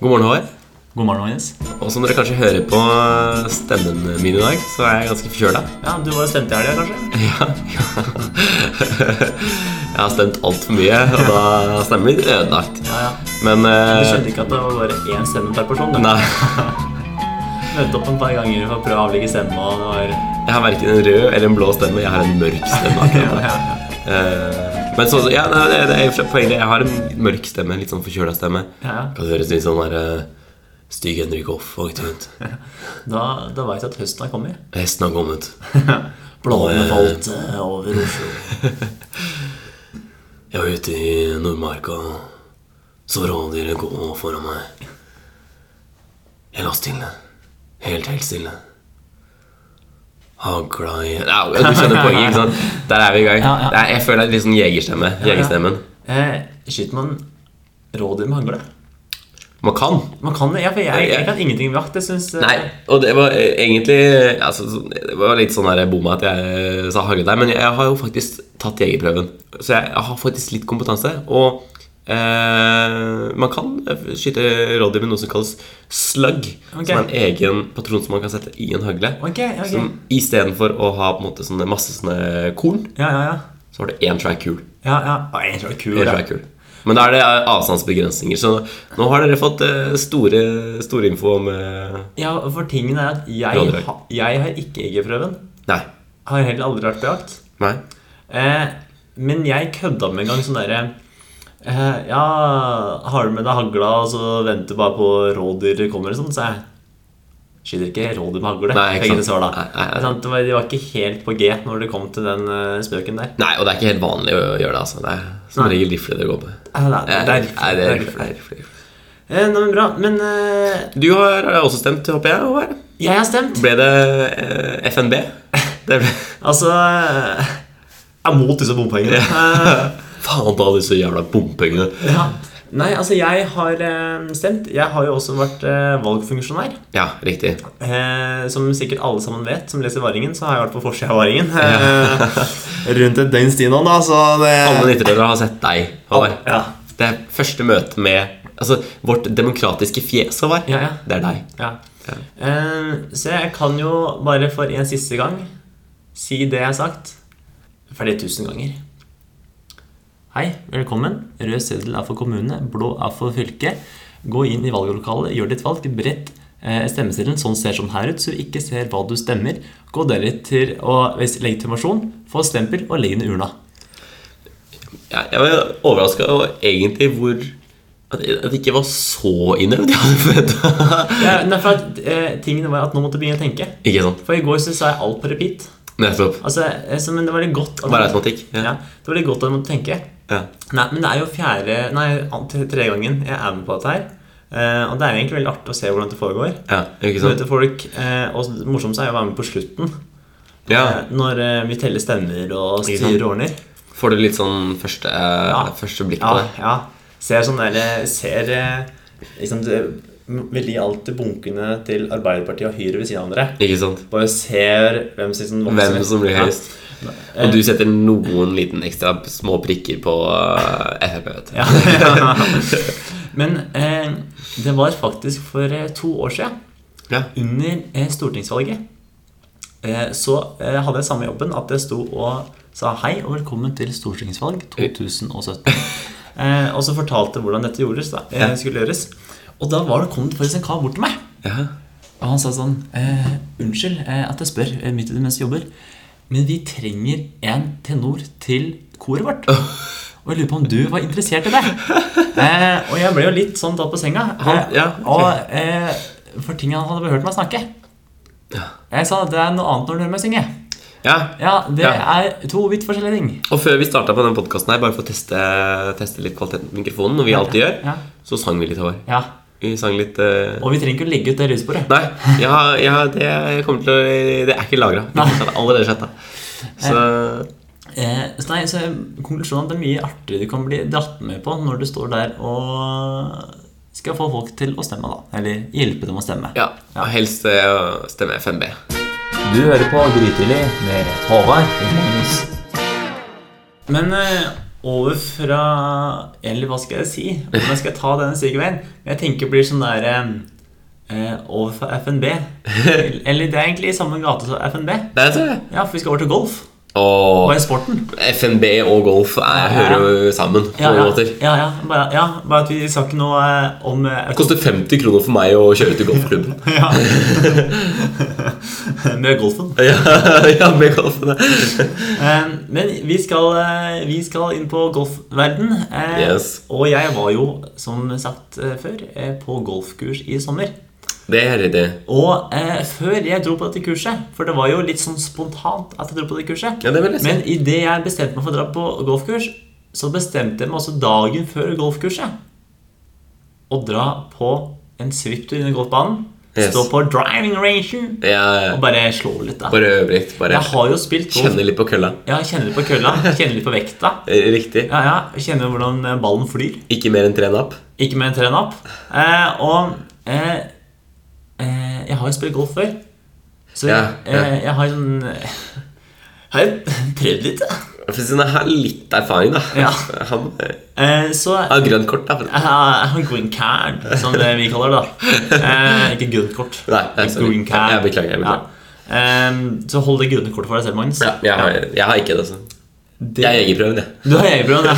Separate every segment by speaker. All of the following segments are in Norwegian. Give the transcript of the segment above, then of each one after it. Speaker 1: God morgen, Håvard.
Speaker 2: God morgen, Agnes.
Speaker 1: Og som dere kanskje hører på eh, stemmen min i dag, så er jeg ganske forkjøla.
Speaker 2: Ja, du var jo stemt i helga, kanskje?
Speaker 1: Ja. jeg har stemt altfor mye, og da er stemmen min ødelagt.
Speaker 2: Ja, ja.
Speaker 1: Men
Speaker 2: Du
Speaker 1: eh,
Speaker 2: skjønte ikke at det var bare én stemme per person? Du
Speaker 1: Nei.
Speaker 2: møtte opp en par ganger for å prøve å avlegge stemme, og det var
Speaker 1: Jeg har verken en rød eller en blå stemme. Jeg har en mørk stemme.
Speaker 2: ja,
Speaker 1: akkurat nå.
Speaker 2: ja.
Speaker 1: Eh, men så, ja, nei, det, det er jo poenget. Jeg har en mørk stemme. Litt sånn forkjøla stemme.
Speaker 2: ja.
Speaker 1: Kan høres litt sånn der eh, stygg Henrik Hoff og ikke rundt.
Speaker 2: Da, da veit jeg at høsten har kommet.
Speaker 1: Hesten har kommet.
Speaker 2: Blåene falt eh, over Oslo.
Speaker 1: Jeg var ute i Nordmarka, så rådyret gå foran meg. Jeg lå stille. Helt, helt stille. Hagla i Au, Du skjønner poenget, ikke sant? Der er vi i gang.
Speaker 2: Ja, ja.
Speaker 1: Det er- Jeg føler det er litt sånn jegerstemme. Jegerstemmen.
Speaker 2: Eh, skyter man rådyr med hagle?
Speaker 1: Man kan.
Speaker 2: Man kan det. Ja, for jeg, jeg kan ingenting med jakt. Jeg syns
Speaker 1: Nei, og det var eh, egentlig altså, så- Det var litt sånn der bom at jeg eh, sa hagle der, men jeg har jo faktisk tatt jegerprøven. Så jeg har faktisk litt kompetanse. Og eh, man kan skyte rådyr med noe som kalles slug,
Speaker 2: Ok.
Speaker 1: som er en egen patron som man kan sette i en hagle.
Speaker 2: Ok, ok.
Speaker 1: Som Istedenfor å ha på en måte sånne, masse sånne korn,
Speaker 2: Ja, ja, ja.
Speaker 1: så har du én track kul.
Speaker 2: Ja, ja. Å, Jeg tror det er kul,
Speaker 1: Det
Speaker 2: ja.
Speaker 1: tror jeg er kult. Men da er det eh, avstandsbegrensninger. Så nå har dere fått eh, store, store info om eh,
Speaker 2: ja, for tingen er at jeg,
Speaker 1: Rådyr.
Speaker 2: ha, jeg har ikke egerprøven.
Speaker 1: Nei.
Speaker 2: Har heller aldri vært på jakt.
Speaker 1: Nei.
Speaker 2: Eh, men jeg kødda med en gang sånn derre eh, Ja, har du med deg hagla, og så venter du bare på rådyr kommer, og sånn, så jeg skyter ikke rådyr med hagle.
Speaker 1: Nei, ikke
Speaker 2: fikk jeg til
Speaker 1: sant.
Speaker 2: svar da.
Speaker 1: Nei, nei, nei.
Speaker 2: Ikke sant? Det var, de var ikke helt på G når det kom til den eh, spøken der.
Speaker 1: Nei, og det er ikke helt vanlig å gjøre det. altså Det er som
Speaker 2: Nei.
Speaker 1: regel rifle det går på.
Speaker 2: Eh, Nei, det er
Speaker 1: Nei, det er rifle, det
Speaker 2: rifle.
Speaker 1: er rifle.
Speaker 2: Eh, Nei, men bra. Men eh,
Speaker 1: Du har også stemt, håper jeg? Håvard?
Speaker 2: jeg har stemt.
Speaker 1: Ble det eh, FNB? Det ble...
Speaker 2: Altså eh, Jeg er mot disse bompengene.
Speaker 1: Faen ta disse jævla bompengene.
Speaker 2: Eh, Ja. Nei, altså, jeg har eh, stemt. Jeg har jo også vært eh, valgfunksjonær.
Speaker 1: Ja, riktig.
Speaker 2: Eh, som sikkert alle sammen vet, som leser Varingen, så har jeg vært på forsida av Varingen. Eh, rundt et døgns tid nå, da, så det
Speaker 1: Alle nitrere har sett deg, Håvard.
Speaker 2: Ja.
Speaker 1: Det er første møte med Altså, vårt demokratiske fjes, Håvard.
Speaker 2: Ja, ja.
Speaker 1: Det er deg.
Speaker 2: ja. Eh, så jeg kan jo bare for en siste gang si det jeg har sagt flere tusen ganger. Hei, velkommen. Rød seddel er for kommune, blå er for fylke. Gå inn i valglokalet, gjør ditt valg, brett eh, stemmeseddelen. Sånn ser sånn her ut, så du ikke ser hva du stemmer. Gå deretter og vis legitimasjon, få stempel og legg den i urna.
Speaker 1: Ja, jeg var overraska egentlig hvor At at det ikke var så innøvd. Jeg hadde forventet.
Speaker 2: Ja, Nei, for at eh, tingene var at nå måtte jeg begynne å tenke.
Speaker 1: Ikke sant?
Speaker 2: For i går så sa jeg alt på repeat.
Speaker 1: Nettopp.
Speaker 2: Altså, eh, så, men det var litt godt at
Speaker 1: Bare automatikk.
Speaker 2: ja.
Speaker 1: Ja.
Speaker 2: det var litt godt at jeg måtte tenke.
Speaker 1: ja.
Speaker 2: Nei, men det er jo fjerde Nei, an- tre- tredje gangen jeg er med på dette her. Eh, og det er jo egentlig veldig artig å se hvordan det foregår.
Speaker 1: ja. Ikke sant?
Speaker 2: Møte folk, eh, og det morsomste er jo å være med på slutten.
Speaker 1: Ja.
Speaker 2: Eh, når eh, vi teller stemmer og
Speaker 1: Ikke sant?
Speaker 2: styrer og ordner.
Speaker 1: Får du litt sånn første, eh, første blikk på
Speaker 2: Ja,
Speaker 1: det?
Speaker 2: ja. Ser sånn der eh, Ser eh, liksom det, Vil de alltid bunkene til Arbeiderpartiet og Høyre ved siden av hverandre?
Speaker 1: Ikke sant?
Speaker 2: Bare ser hvem som liksom vokser.
Speaker 1: Hvem som blir høyest.
Speaker 2: Ja.
Speaker 1: Og du setter noen liten ekstra små prikker på eh, Frp, vet du.
Speaker 2: Ja. Men eh, det var faktisk for eh, to år siden,
Speaker 1: Ja.
Speaker 2: under eh, stortingsvalget, eh, så eh, hadde jeg samme jobben at jeg sto og sa hei og velkommen til stortingsvalg 2017. Eh, og så fortalte jeg hvordan dette gjordes, da, eh, skulle gjøres. Og da var det, kom det faktisk en kar bort til meg.
Speaker 1: Ja.
Speaker 2: Og han sa sånn eh, Unnskyld eh, at jeg spør eh, midt i det mens jeg jobber, men vi trenger en tenor til koret vårt. Og jeg lurer på om du var interessert i det? Eh, og jeg ble jo litt sånn tatt på senga.
Speaker 1: Han-
Speaker 2: Eh,
Speaker 1: ja,
Speaker 2: og eh, for ting han hadde hørt meg snakke. Jeg sa det er noe annet når du hører meg synge.
Speaker 1: ja.
Speaker 2: Ja, det
Speaker 1: Ja.
Speaker 2: er to vidt forskjellige ting.
Speaker 1: Og før vi starta på den podkasten her, bare for å teste, teste litt kvaliteten på mikrofonen, noe vi alltid gjør,
Speaker 2: Ja.
Speaker 1: så sang vi litt, Håvard.
Speaker 2: Ja,
Speaker 1: Vi sang litt eh,
Speaker 2: Og vi trenger ikke å legge ut det lydsporet.
Speaker 1: Nei, jeg har- jeg har- det kommer til å Det er ikke lagra. Det er allerede skjedd. da. Så
Speaker 2: Eh, så nei, så konklusjonen er at det er mye artigere du kan bli dratt med på når du står der og skal få folk til å stemme, da. Eller hjelpe dem å stemme.
Speaker 1: ja, helst eh, stemme FNB.
Speaker 2: Du hører på Grytidlig med Håvard og Magnus. Men eh, over fra Eller hva skal jeg si? Hvordan skal jeg ta denne sykeveien? Jeg tenker det blir sånn der eh, Over fra FNB. Eller det er egentlig i samme gate som FNB.
Speaker 1: Det er det.
Speaker 2: Ja, for vi skal over til golf.
Speaker 1: Og
Speaker 2: Bare sporten.
Speaker 1: FNB og golf er, hører jo sammen på
Speaker 2: Ja,
Speaker 1: mange
Speaker 2: ja,
Speaker 1: måter.
Speaker 2: ja, ja, bare, ja, bare at vi sa ikke noe eh, om eh,
Speaker 1: Det koster 50 kroner for meg å kjøre til golfklubben.
Speaker 2: Ja. Med golfen.
Speaker 1: ja, ja, med golfen.
Speaker 2: Eh, Men vi skal, eh, vi skal inn på golfverden. eh,
Speaker 1: Yes.
Speaker 2: Og jeg var jo, som sagt eh, før, eh, på golfkurs i sommer.
Speaker 1: Det er riktig.
Speaker 2: Og eh, før jeg dro på dette kurset, for det var jo litt sånn spontant at jeg dro på det kurset
Speaker 1: Ja, det vil jeg si.
Speaker 2: Men idet jeg bestemte meg for å dra på golfkurs, så bestemte jeg meg også dagen før golfkurset å dra på en svipptur inn i golfbanen,
Speaker 1: Yes.
Speaker 2: stå på driving rangen
Speaker 1: Ja, ja.
Speaker 2: og bare slå litt, da.
Speaker 1: Bare øve litt. Bare
Speaker 2: Jeg har jo spilt golf.
Speaker 1: kjenne litt på kølla.
Speaker 2: Ja, jeg kjenner litt på kølla, kjenner litt på vekta.
Speaker 1: Eh, Riktig.
Speaker 2: Ja, ja, jeg kjenner hvordan eh, ballen flyr.
Speaker 1: Ikke mer enn tre napp.
Speaker 2: Ikke med en trenapp. Eh, og eh, eh, jeg har jo spilt golf før. Så jeg,
Speaker 1: Ja, ja.
Speaker 2: Eh, jeg har sånn eh, Har jeg prøvd litt? da.
Speaker 1: For siden jeg har litt erfaring, da.
Speaker 2: Ja.
Speaker 1: Han eh,
Speaker 2: Eh, så jeg
Speaker 1: har grønt kort, da.
Speaker 2: har green card, som det vi kaller det. da eh, Ikke grønt kort.
Speaker 1: Nei, jeg, sorry.
Speaker 2: green card.
Speaker 1: jeg beklager. jeg beklager.
Speaker 2: Ja. Eh, så hold det grønne kortet for deg selv, Magnus.
Speaker 1: Ja, jeg, har, jeg har ikke det. altså.
Speaker 2: Det-
Speaker 1: Jeg er jegerprøven, jeg.
Speaker 2: Du har jegerprøven, ja.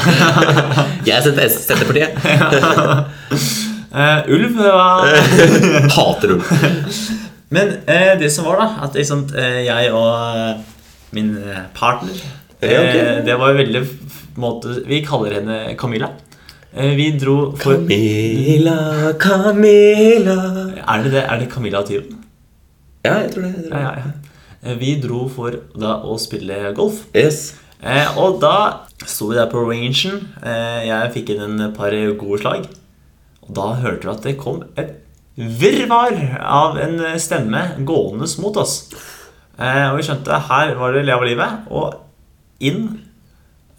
Speaker 1: Jeg er sett- Senterpartiet.
Speaker 2: Eh, ulv hva-
Speaker 1: Hater ulv.
Speaker 2: Men eh, det som var, da, at ikke sant, eh, jeg og eh, min eh, partner
Speaker 1: Ja, ok.
Speaker 2: eh, Det var jo veldig f- måte Vi kaller henne Camilla. Eh, vi dro for
Speaker 1: Camilla, Camilla
Speaker 2: Er det det? Er det Camilla og Tyven?
Speaker 1: Ja, jeg tror det. Jeg tror det.
Speaker 2: Ja, ja, ja. Eh, Vi dro for da å spille golf.
Speaker 1: Yes.
Speaker 2: Eh, og da sto vi der på rangen. Eh, jeg fikk inn en par gode slag. Og da hørte vi at det kom et virvar av en stemme gående mot oss. Eh, og vi skjønte her var det leve livet. Og inn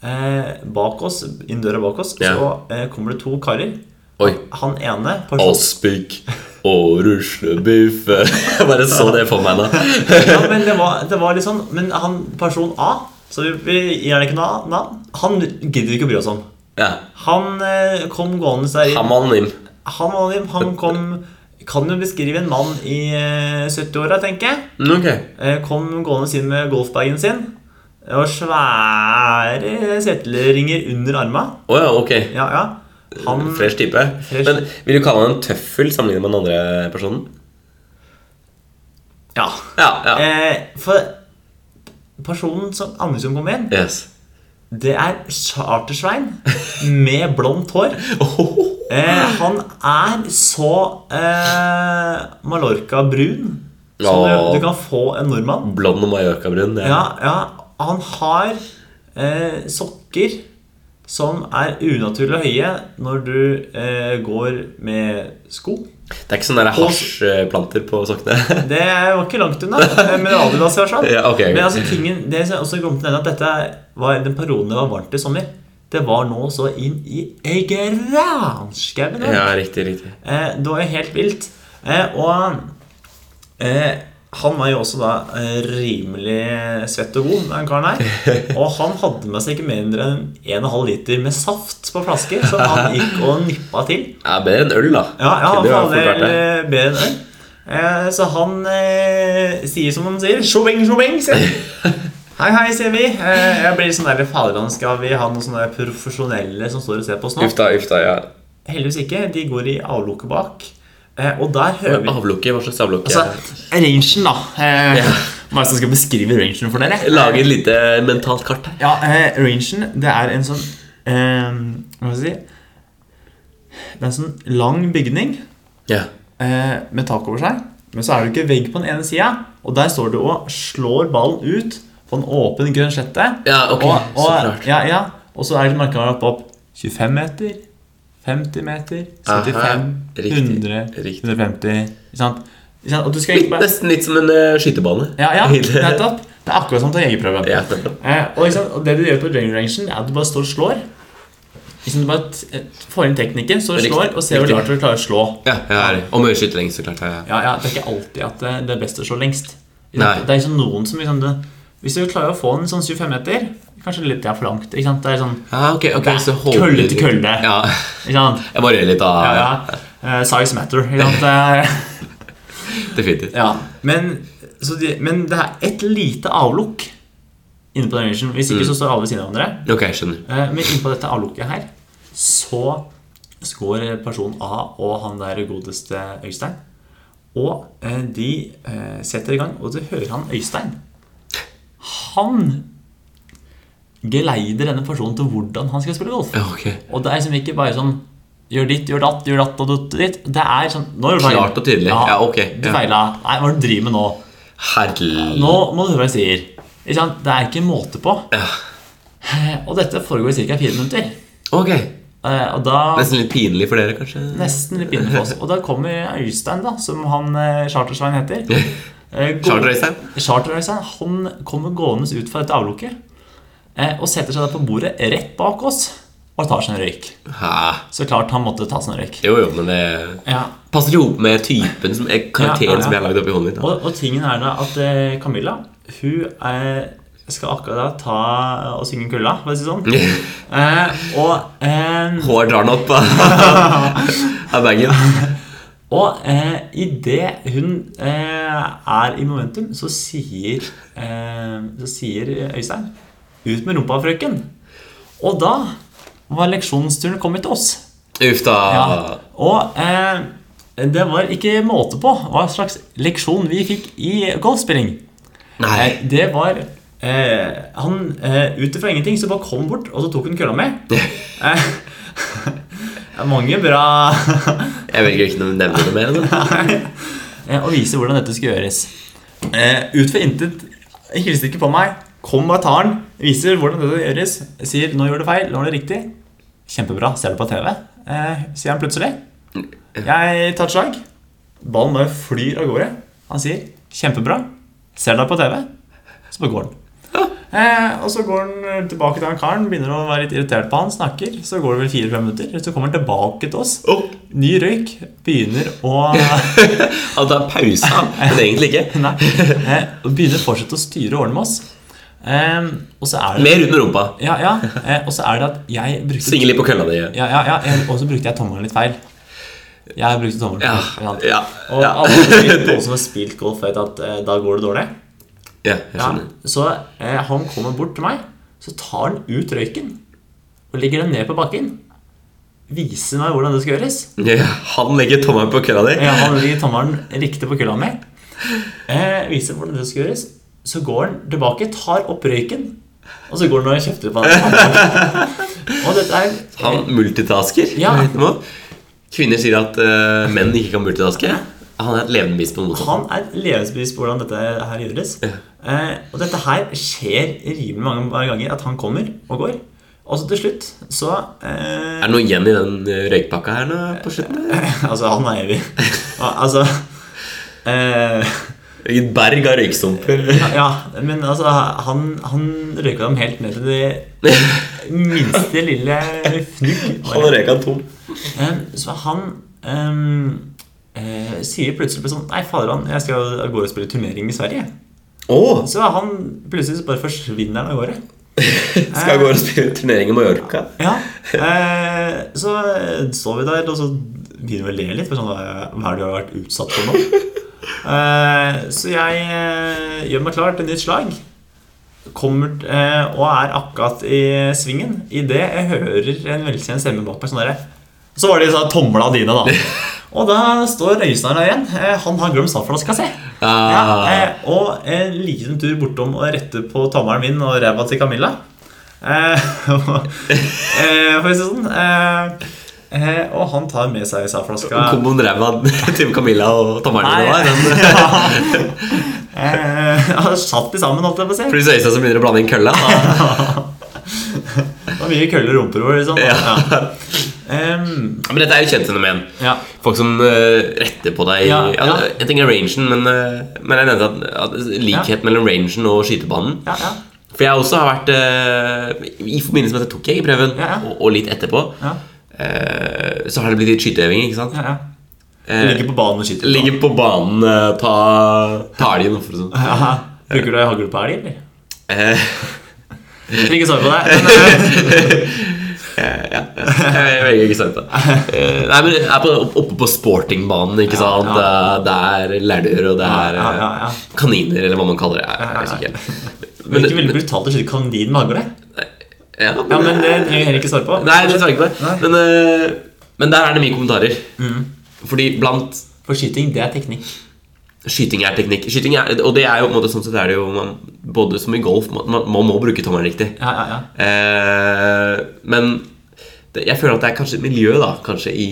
Speaker 2: eh, bak oss, inn døra bak oss,
Speaker 1: Ja.
Speaker 2: så eh, kommer det to karer.
Speaker 1: Oi.
Speaker 2: Han ene person,
Speaker 1: Aspik og ruslebiff Jeg bare så det for meg da.
Speaker 2: ja, men, det var, det var litt sånn, men han person A, så vi, vi gir han ikke noe navn, han gidder vi ikke å bry oss om.
Speaker 1: Ja.
Speaker 2: Han eh, kom gående der inn.
Speaker 1: Han var anonym.
Speaker 2: Han, anonym, han kom Kan jo beskrive en mann i eh, 70-åra, tenker jeg.
Speaker 1: Mm, Ok.
Speaker 2: Eh, Kom gående inn med golfbagen sin. Og svære settelringer under arma.
Speaker 1: Å ja, ok.
Speaker 2: Ja, ja. Han
Speaker 1: Mm. Fresh type.
Speaker 2: Fresh.
Speaker 1: Men vil du kalle han en tøffel sammenlignet med den andre personen?
Speaker 2: Ja.
Speaker 1: Ja. ja.
Speaker 2: Eh, for personen som andre som kom inn,
Speaker 1: Yes.
Speaker 2: det er Chartersvein med blondt hår.
Speaker 1: Ohoho.
Speaker 2: Eh, han er så eh, Mallorca-brun som
Speaker 1: Ja.
Speaker 2: du, du kan få en nordmann.
Speaker 1: Blond og mallorcabrun. Ja.
Speaker 2: Ja, ja. Han har eh, sokker som er unaturlig høye når du eh, går med sko.
Speaker 1: Det er ikke sånne der hasjplanter på sokkene?
Speaker 2: Det var ikke langt unna. eh, Med Adidas, i hvert fall.
Speaker 1: Ja, ok, ok.
Speaker 2: Men altså, tingen, det som jeg også glemte å nevne, at dette var den perioden det var varmt i sommer. Det var nå så inn i Egeranskauen.
Speaker 1: ja, riktig. riktig
Speaker 2: Eh, det var jo helt vilt. Eh, og eh, han var jo også da eh, rimelig svett og god, den karen her. Og han hadde med seg ikke mindre enn 1,5 liter med saft på flasker, som han gikk og nippa til.
Speaker 1: Ja, Bedre enn øl, da.
Speaker 2: Ja, ja han
Speaker 1: Kunne jo
Speaker 2: var
Speaker 1: fort vært
Speaker 2: vel
Speaker 1: det.
Speaker 2: eh, bedre enn øl. Eh, så han eh, sier som han sier. Sjobeng, sjobeng, sier han. Hei, hei, sier vi. Eh, jeg blir sånn der Fader, han skal vi ha noen sånne profesjonelle som står og ser på oss nå?
Speaker 1: Uff da, uff da. ja
Speaker 2: Heldigvis ikke. De går i avlukket bak. Eh, og der hører vi
Speaker 1: Avlukke? Hva slags avlukke?
Speaker 2: Altså, rangen, da. Eh, Hva er det som skal beskrive rangen for dere?
Speaker 1: Lage et lite mentalt kart her.
Speaker 2: Ja, eh, rangen, det er en sånn eh, Hva skal jeg si Det er en sånn lang bygning
Speaker 1: Ja.
Speaker 2: eh, med tak over seg. Men så er det jo ikke vegg på den ene sida, og der står du og slår ballen ut på en åpen grønn slette.
Speaker 1: Ja, ok,
Speaker 2: og, og,
Speaker 1: så klart.
Speaker 2: Ja, ja. og så er det merka opp, opp 25 meter, 50 meter, 75,
Speaker 1: Aha, riktig,
Speaker 2: 100,
Speaker 1: riktig.
Speaker 2: 150 ikke sant? Ikke sant? Og du skal
Speaker 1: Litt,
Speaker 2: ikke bare
Speaker 1: nesten litt som en eh, skytebane.
Speaker 2: Ja, ja,
Speaker 1: Egentlig.
Speaker 2: nettopp. Det er akkurat som å ta jegerprøven.
Speaker 1: Ja, nettopp.
Speaker 2: Eh, og, ikke sant? og det du gjør på driving rangen, er at du bare står og slår. Ikke sant? Du bare t- eh, får inn teknikken, står og
Speaker 1: Riktig,
Speaker 2: slår, og ser hvor
Speaker 1: riktig.
Speaker 2: langt du klarer å slå.
Speaker 1: Ja, ja, ja. Og med skytelengde, så klart. Ja, ja.
Speaker 2: Ja, ja, Det er ikke alltid at eh, det- det er best å slå lengst. Ikke sant?
Speaker 1: Nei.
Speaker 2: Det er ikke sånn noen som liksom det, Hvis du klarer å få en sånn 25 meter, Kanskje litt det er for langt. Ikke sant? Det er sånn
Speaker 1: Ja, ok, ok,
Speaker 2: Det er
Speaker 1: så holder
Speaker 2: kølle
Speaker 1: du-
Speaker 2: til kølle.
Speaker 1: Ja,
Speaker 2: ikke sant?
Speaker 1: Jeg bare gjør litt av
Speaker 2: Ja, ja. Eh, size matter. Ikke sant? Det er-
Speaker 1: Definitivt.
Speaker 2: Ja, men, så de, men det er et lite avlukk inne på den rangen. Hvis ikke så står alle ved siden av hverandre.
Speaker 1: Ok, jeg skjønner.
Speaker 2: Eh, Men innpå dette avlukket her så skår person A og han der godeste Øystein. Og eh, de eh, setter i gang, og du hører han Øystein. Han geleider denne personen til hvordan han skal spille golf.
Speaker 1: Ja, ok.
Speaker 2: Og det er liksom ikke bare sånn Gjør ditt, gjør datt, gjør datt og dutt og ditt. Det er sånn nå gjør du feil.
Speaker 1: Klart og tydelig. Ja, ok,
Speaker 2: Du
Speaker 1: ja.
Speaker 2: feila. Nei, hva er det du driver med nå?
Speaker 1: Herlig.
Speaker 2: Nå må du høre hva jeg sier. Ikke sant? Det er ikke måte på.
Speaker 1: Ja.
Speaker 2: Eh, Og dette foregår i ca. fire minutter.
Speaker 1: Ok.
Speaker 2: Eh, Og da
Speaker 1: Nesten litt pinlig for dere, kanskje?
Speaker 2: Nesten litt pinlig for oss. Og da kommer Øystein, da, som han eh, Charter-Svein heter. Eh, gå-
Speaker 1: Charter-Øystein?
Speaker 2: Charter-Øystein. Han kommer gående ut fra dette avlukket eh, og setter seg da på bordet rett bak oss og tar seg en røyk.
Speaker 1: Hæ?
Speaker 2: Så klart han måtte ta seg en røyk.
Speaker 1: Jo, jo, men det
Speaker 2: Ja,
Speaker 1: passer jo opp med typen, som er karakteren
Speaker 2: Ja, ja, ja.
Speaker 1: som jeg har lagd opp i hånden min. da.
Speaker 2: Og, og tingen er da at eh, Camilla Hun eh, skal akkurat da ta og synge kølla, for å si det sånn. Eh, og eh,
Speaker 1: Hår drar den opp av av bagen.
Speaker 2: og eh, idet hun eh, er i momentum, så sier, eh, så sier Øystein Ut med rumpa, frøken! Og da var leksjonsturen kommet til oss.
Speaker 1: Uff da.
Speaker 2: Ja. Og eh, det var ikke måte på hva slags leksjon vi fikk i golfspilling.
Speaker 1: Nei.
Speaker 2: Eh, Det var eh, Han eh, ut ifra ingenting så bare kom han bort, og så tok han kølla med. Eh, det er mange bra
Speaker 1: Jeg velger ikke å nevne det mer. Da.
Speaker 2: eh, Å vise hvordan dette skulle gjøres. Eh, ut fra intet hilste ikke på meg. Kom bare tar den. Viser hvordan dette gjøres. Sier 'nå gjør du feil', 'nå er det riktig'. Kjempebra. Ser du på TV? Eh, sier han plutselig. Jeg tar et slag. Ballen bare flyr av gårde. Han sier 'kjempebra'. Ser deg på TV. Så bare går han. Eh, og så går han eh, tilbake til han karen, begynner å være litt irritert på han, snakker. Så går det vel fire-fem minutter, så kommer han tilbake til oss.
Speaker 1: Oh.
Speaker 2: Ny røyk. Begynner å
Speaker 1: Han tar pause, da, men egentlig ikke.
Speaker 2: Nei. Eh, og begynner fortsatt å styre årene med oss. Eh, og så er det
Speaker 1: Mer under rumpa.
Speaker 2: Ja, ja. Eh, og så er det at jeg brukte
Speaker 1: Svinge litt på kølla di. Ja.
Speaker 2: Ja, ja, ja. jeg- Og så brukte jeg tommelen litt feil. Jeg brukte tommelen
Speaker 1: Ja.
Speaker 2: feil. ikke sant?
Speaker 1: ja.
Speaker 2: Og alle som har spilt- alle som har spilt golf, vet at eh, da går det dårlig.
Speaker 1: ja jeg
Speaker 2: Ja,
Speaker 1: skjønner.
Speaker 2: så eh, han kommer bort til meg, så tar han ut røyken og legger den ned på bakken. Viser meg hvordan det skal gjøres.
Speaker 1: Ja, han legger tommelen på kølla di.
Speaker 2: Ja, han gir tommelen riktig på kølla mi. Eh, viser hvordan det skal gjøres. Så går han tilbake, tar opp røyken, og så går han og kjefter på han. Og dette er
Speaker 1: Han multitasker.
Speaker 2: Ja.
Speaker 1: på en liten måte. Kvinner sier at eh, menn ikke kan multitaske. Han er et levende bevis på det motsatte.
Speaker 2: Han er levesbevis på hvordan dette her gjøres. Eh, og dette her skjer rimelig mange ganger at han kommer og går. Og så til slutt så eh,
Speaker 1: Er det noe igjen i den eh, røykpakka her nå på slutten? eller?
Speaker 2: Altså, han er evig. Al- Altså eh,
Speaker 1: Et berg av røykstumper.
Speaker 2: Ja, men altså Han, han røyka dem helt ned til det minste lille fnugg.
Speaker 1: Han har røyka tom.
Speaker 2: Eh, Så han ehm, eh, sier plutselig bare sånn Nei, fader, han, jeg skal av gårde og spille turnering i Sverige.
Speaker 1: Å!
Speaker 2: Så han plutselig så bare forsvinner han av gårde.
Speaker 1: Skal jeg gå og spille turnering i Mallorca?
Speaker 2: Ja. Eh, så står vi der, og så begynner vi å le litt. For sånn, hva hva er det du har vært utsatt for nå? Eh, så jeg eh, gjør meg klar til nytt slag. Kommer t- eh, og er akkurat i svingen idet jeg hører en velkjent stemme bak meg. Sånn derre. så var det sånn tomla dine, da. Og da står Øystein der igjen. Eh, han har glemt snappflaska si. Ja,
Speaker 1: Ah.
Speaker 2: eh, og en liten tur bortom å rette på tommelen min og ræva til Camilla. Eh, og- eh, for å si det sånn. Eh, eh, og han tar med seg
Speaker 1: Kom
Speaker 2: sa-flaska.
Speaker 1: om ræva til Camilla og tommelen din. da,
Speaker 2: Nei.
Speaker 1: den-
Speaker 2: Ja. Eh, han satt de sammen, holdt jeg på å si.
Speaker 1: Pluss Øystein som begynner å blande inn kølla. da.
Speaker 2: Det var mye køller og rumper over. Liksom. Ja. Em,
Speaker 1: Men dette er jo kjent fenomen.
Speaker 2: ja.
Speaker 1: Folk som eh, retter på deg
Speaker 2: Ja,
Speaker 1: ja,
Speaker 2: ja.
Speaker 1: Jeg tenker rangen, men, eh, men jeg nevnte at, at likhet mellom rangen og skytebanen.
Speaker 2: Ja, ja.
Speaker 1: For jeg også har vært eh, I forbindelse med at jeg tok jegerprøven,
Speaker 2: Ja, ja.
Speaker 1: og, og litt etterpå,
Speaker 2: Ja.
Speaker 1: eh, så har det blitt litt skyteøving, ikke sant?
Speaker 2: ja, ja.
Speaker 1: Eh,
Speaker 2: Ligger på banen og skyter.
Speaker 1: ligger på banen, eh, ta, ta elgen, for å si det sånn.
Speaker 2: Ja. Bruker du ei hagle på elg, eller?
Speaker 1: Eh,
Speaker 2: Jeg vil ikke svare på det. Men, eh,
Speaker 1: Jeg velger ikke sant, da. Eh, Nei, men jeg er på, oppe på sportingbanen, ikke sant.
Speaker 2: ja.
Speaker 1: Det er det er lærdyr, og det er
Speaker 2: Ja, ja, ja.
Speaker 1: eh, kaniner, eller hva man kaller det. Jeg,
Speaker 2: ja.
Speaker 1: jeg er usikker.
Speaker 2: det
Speaker 1: Men,
Speaker 2: er ikke veldig brutalt å skyte kanin med hagle.
Speaker 1: ja,
Speaker 2: Ja, men det
Speaker 1: eh,
Speaker 2: trenger jeg heller ikke svare på.
Speaker 1: Nei, det svarer jeg ikke på. Men, eh, men der er det mye kommentarer.
Speaker 2: Mm.
Speaker 1: Fordi blant
Speaker 2: For skyting, det er teknikk.
Speaker 1: Skyting er teknikk. Skyting er, og det er jo på en måte sånn sett er det jo man, Både som i golf, man, man, man må bruke tommelen riktig.
Speaker 2: Ja, ja, ja.
Speaker 1: Eh, men det, jeg føler at det er kanskje et miljø da Kanskje i,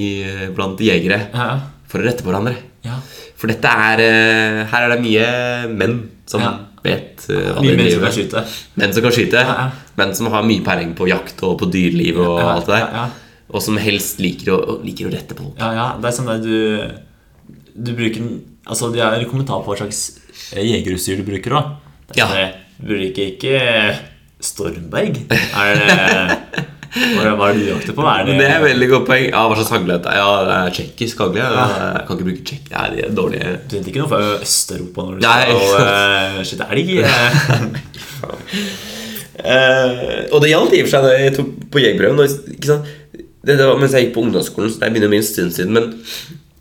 Speaker 1: blant jegere
Speaker 2: ja, ja.
Speaker 1: for å rette på hverandre.
Speaker 2: Ja.
Speaker 1: For dette er eh, Her er det mye menn som
Speaker 2: Ja.
Speaker 1: vet eh, hva
Speaker 2: Mye
Speaker 1: de
Speaker 2: mer som
Speaker 1: driver
Speaker 2: kan
Speaker 1: med.
Speaker 2: skyte.
Speaker 1: Menn som kan skyte.
Speaker 2: Ja, ja.
Speaker 1: Menn som har mye peiling på jakt og på dyreliv og
Speaker 2: Ja,
Speaker 1: alt det der.
Speaker 2: ja, ja.
Speaker 1: Og som helst liker å, og liker å rette på noe.
Speaker 2: Ja, ja. Det er sånn der du Du bruker den Altså, de har en kommentar på hva slags eh, jegerutstyr du bruker òg.
Speaker 1: Ja.
Speaker 2: Du bruker sånn ikke eh, Stormberg. Er det Hva hva er det du jakter på? Er det,
Speaker 1: Men det er et veldig godt poeng. Ja, Hva slags hagle er dette? Ja, det er tsjekkisk hagle. Ja. Jeg kan ikke bruke tsjekk. Nei, de er dårlige.
Speaker 2: Du henter ikke noe fra Øst-Europa når du
Speaker 1: Nei,
Speaker 2: skal
Speaker 1: ikke
Speaker 2: uh, skyte elg? eh.
Speaker 1: Eh, og det gjaldt i og for seg da jeg tok på jegerprøven. og- ikke sant? Det, det var mens jeg gikk på ungdomsskolen, så det begynner å bli en stund siden. Men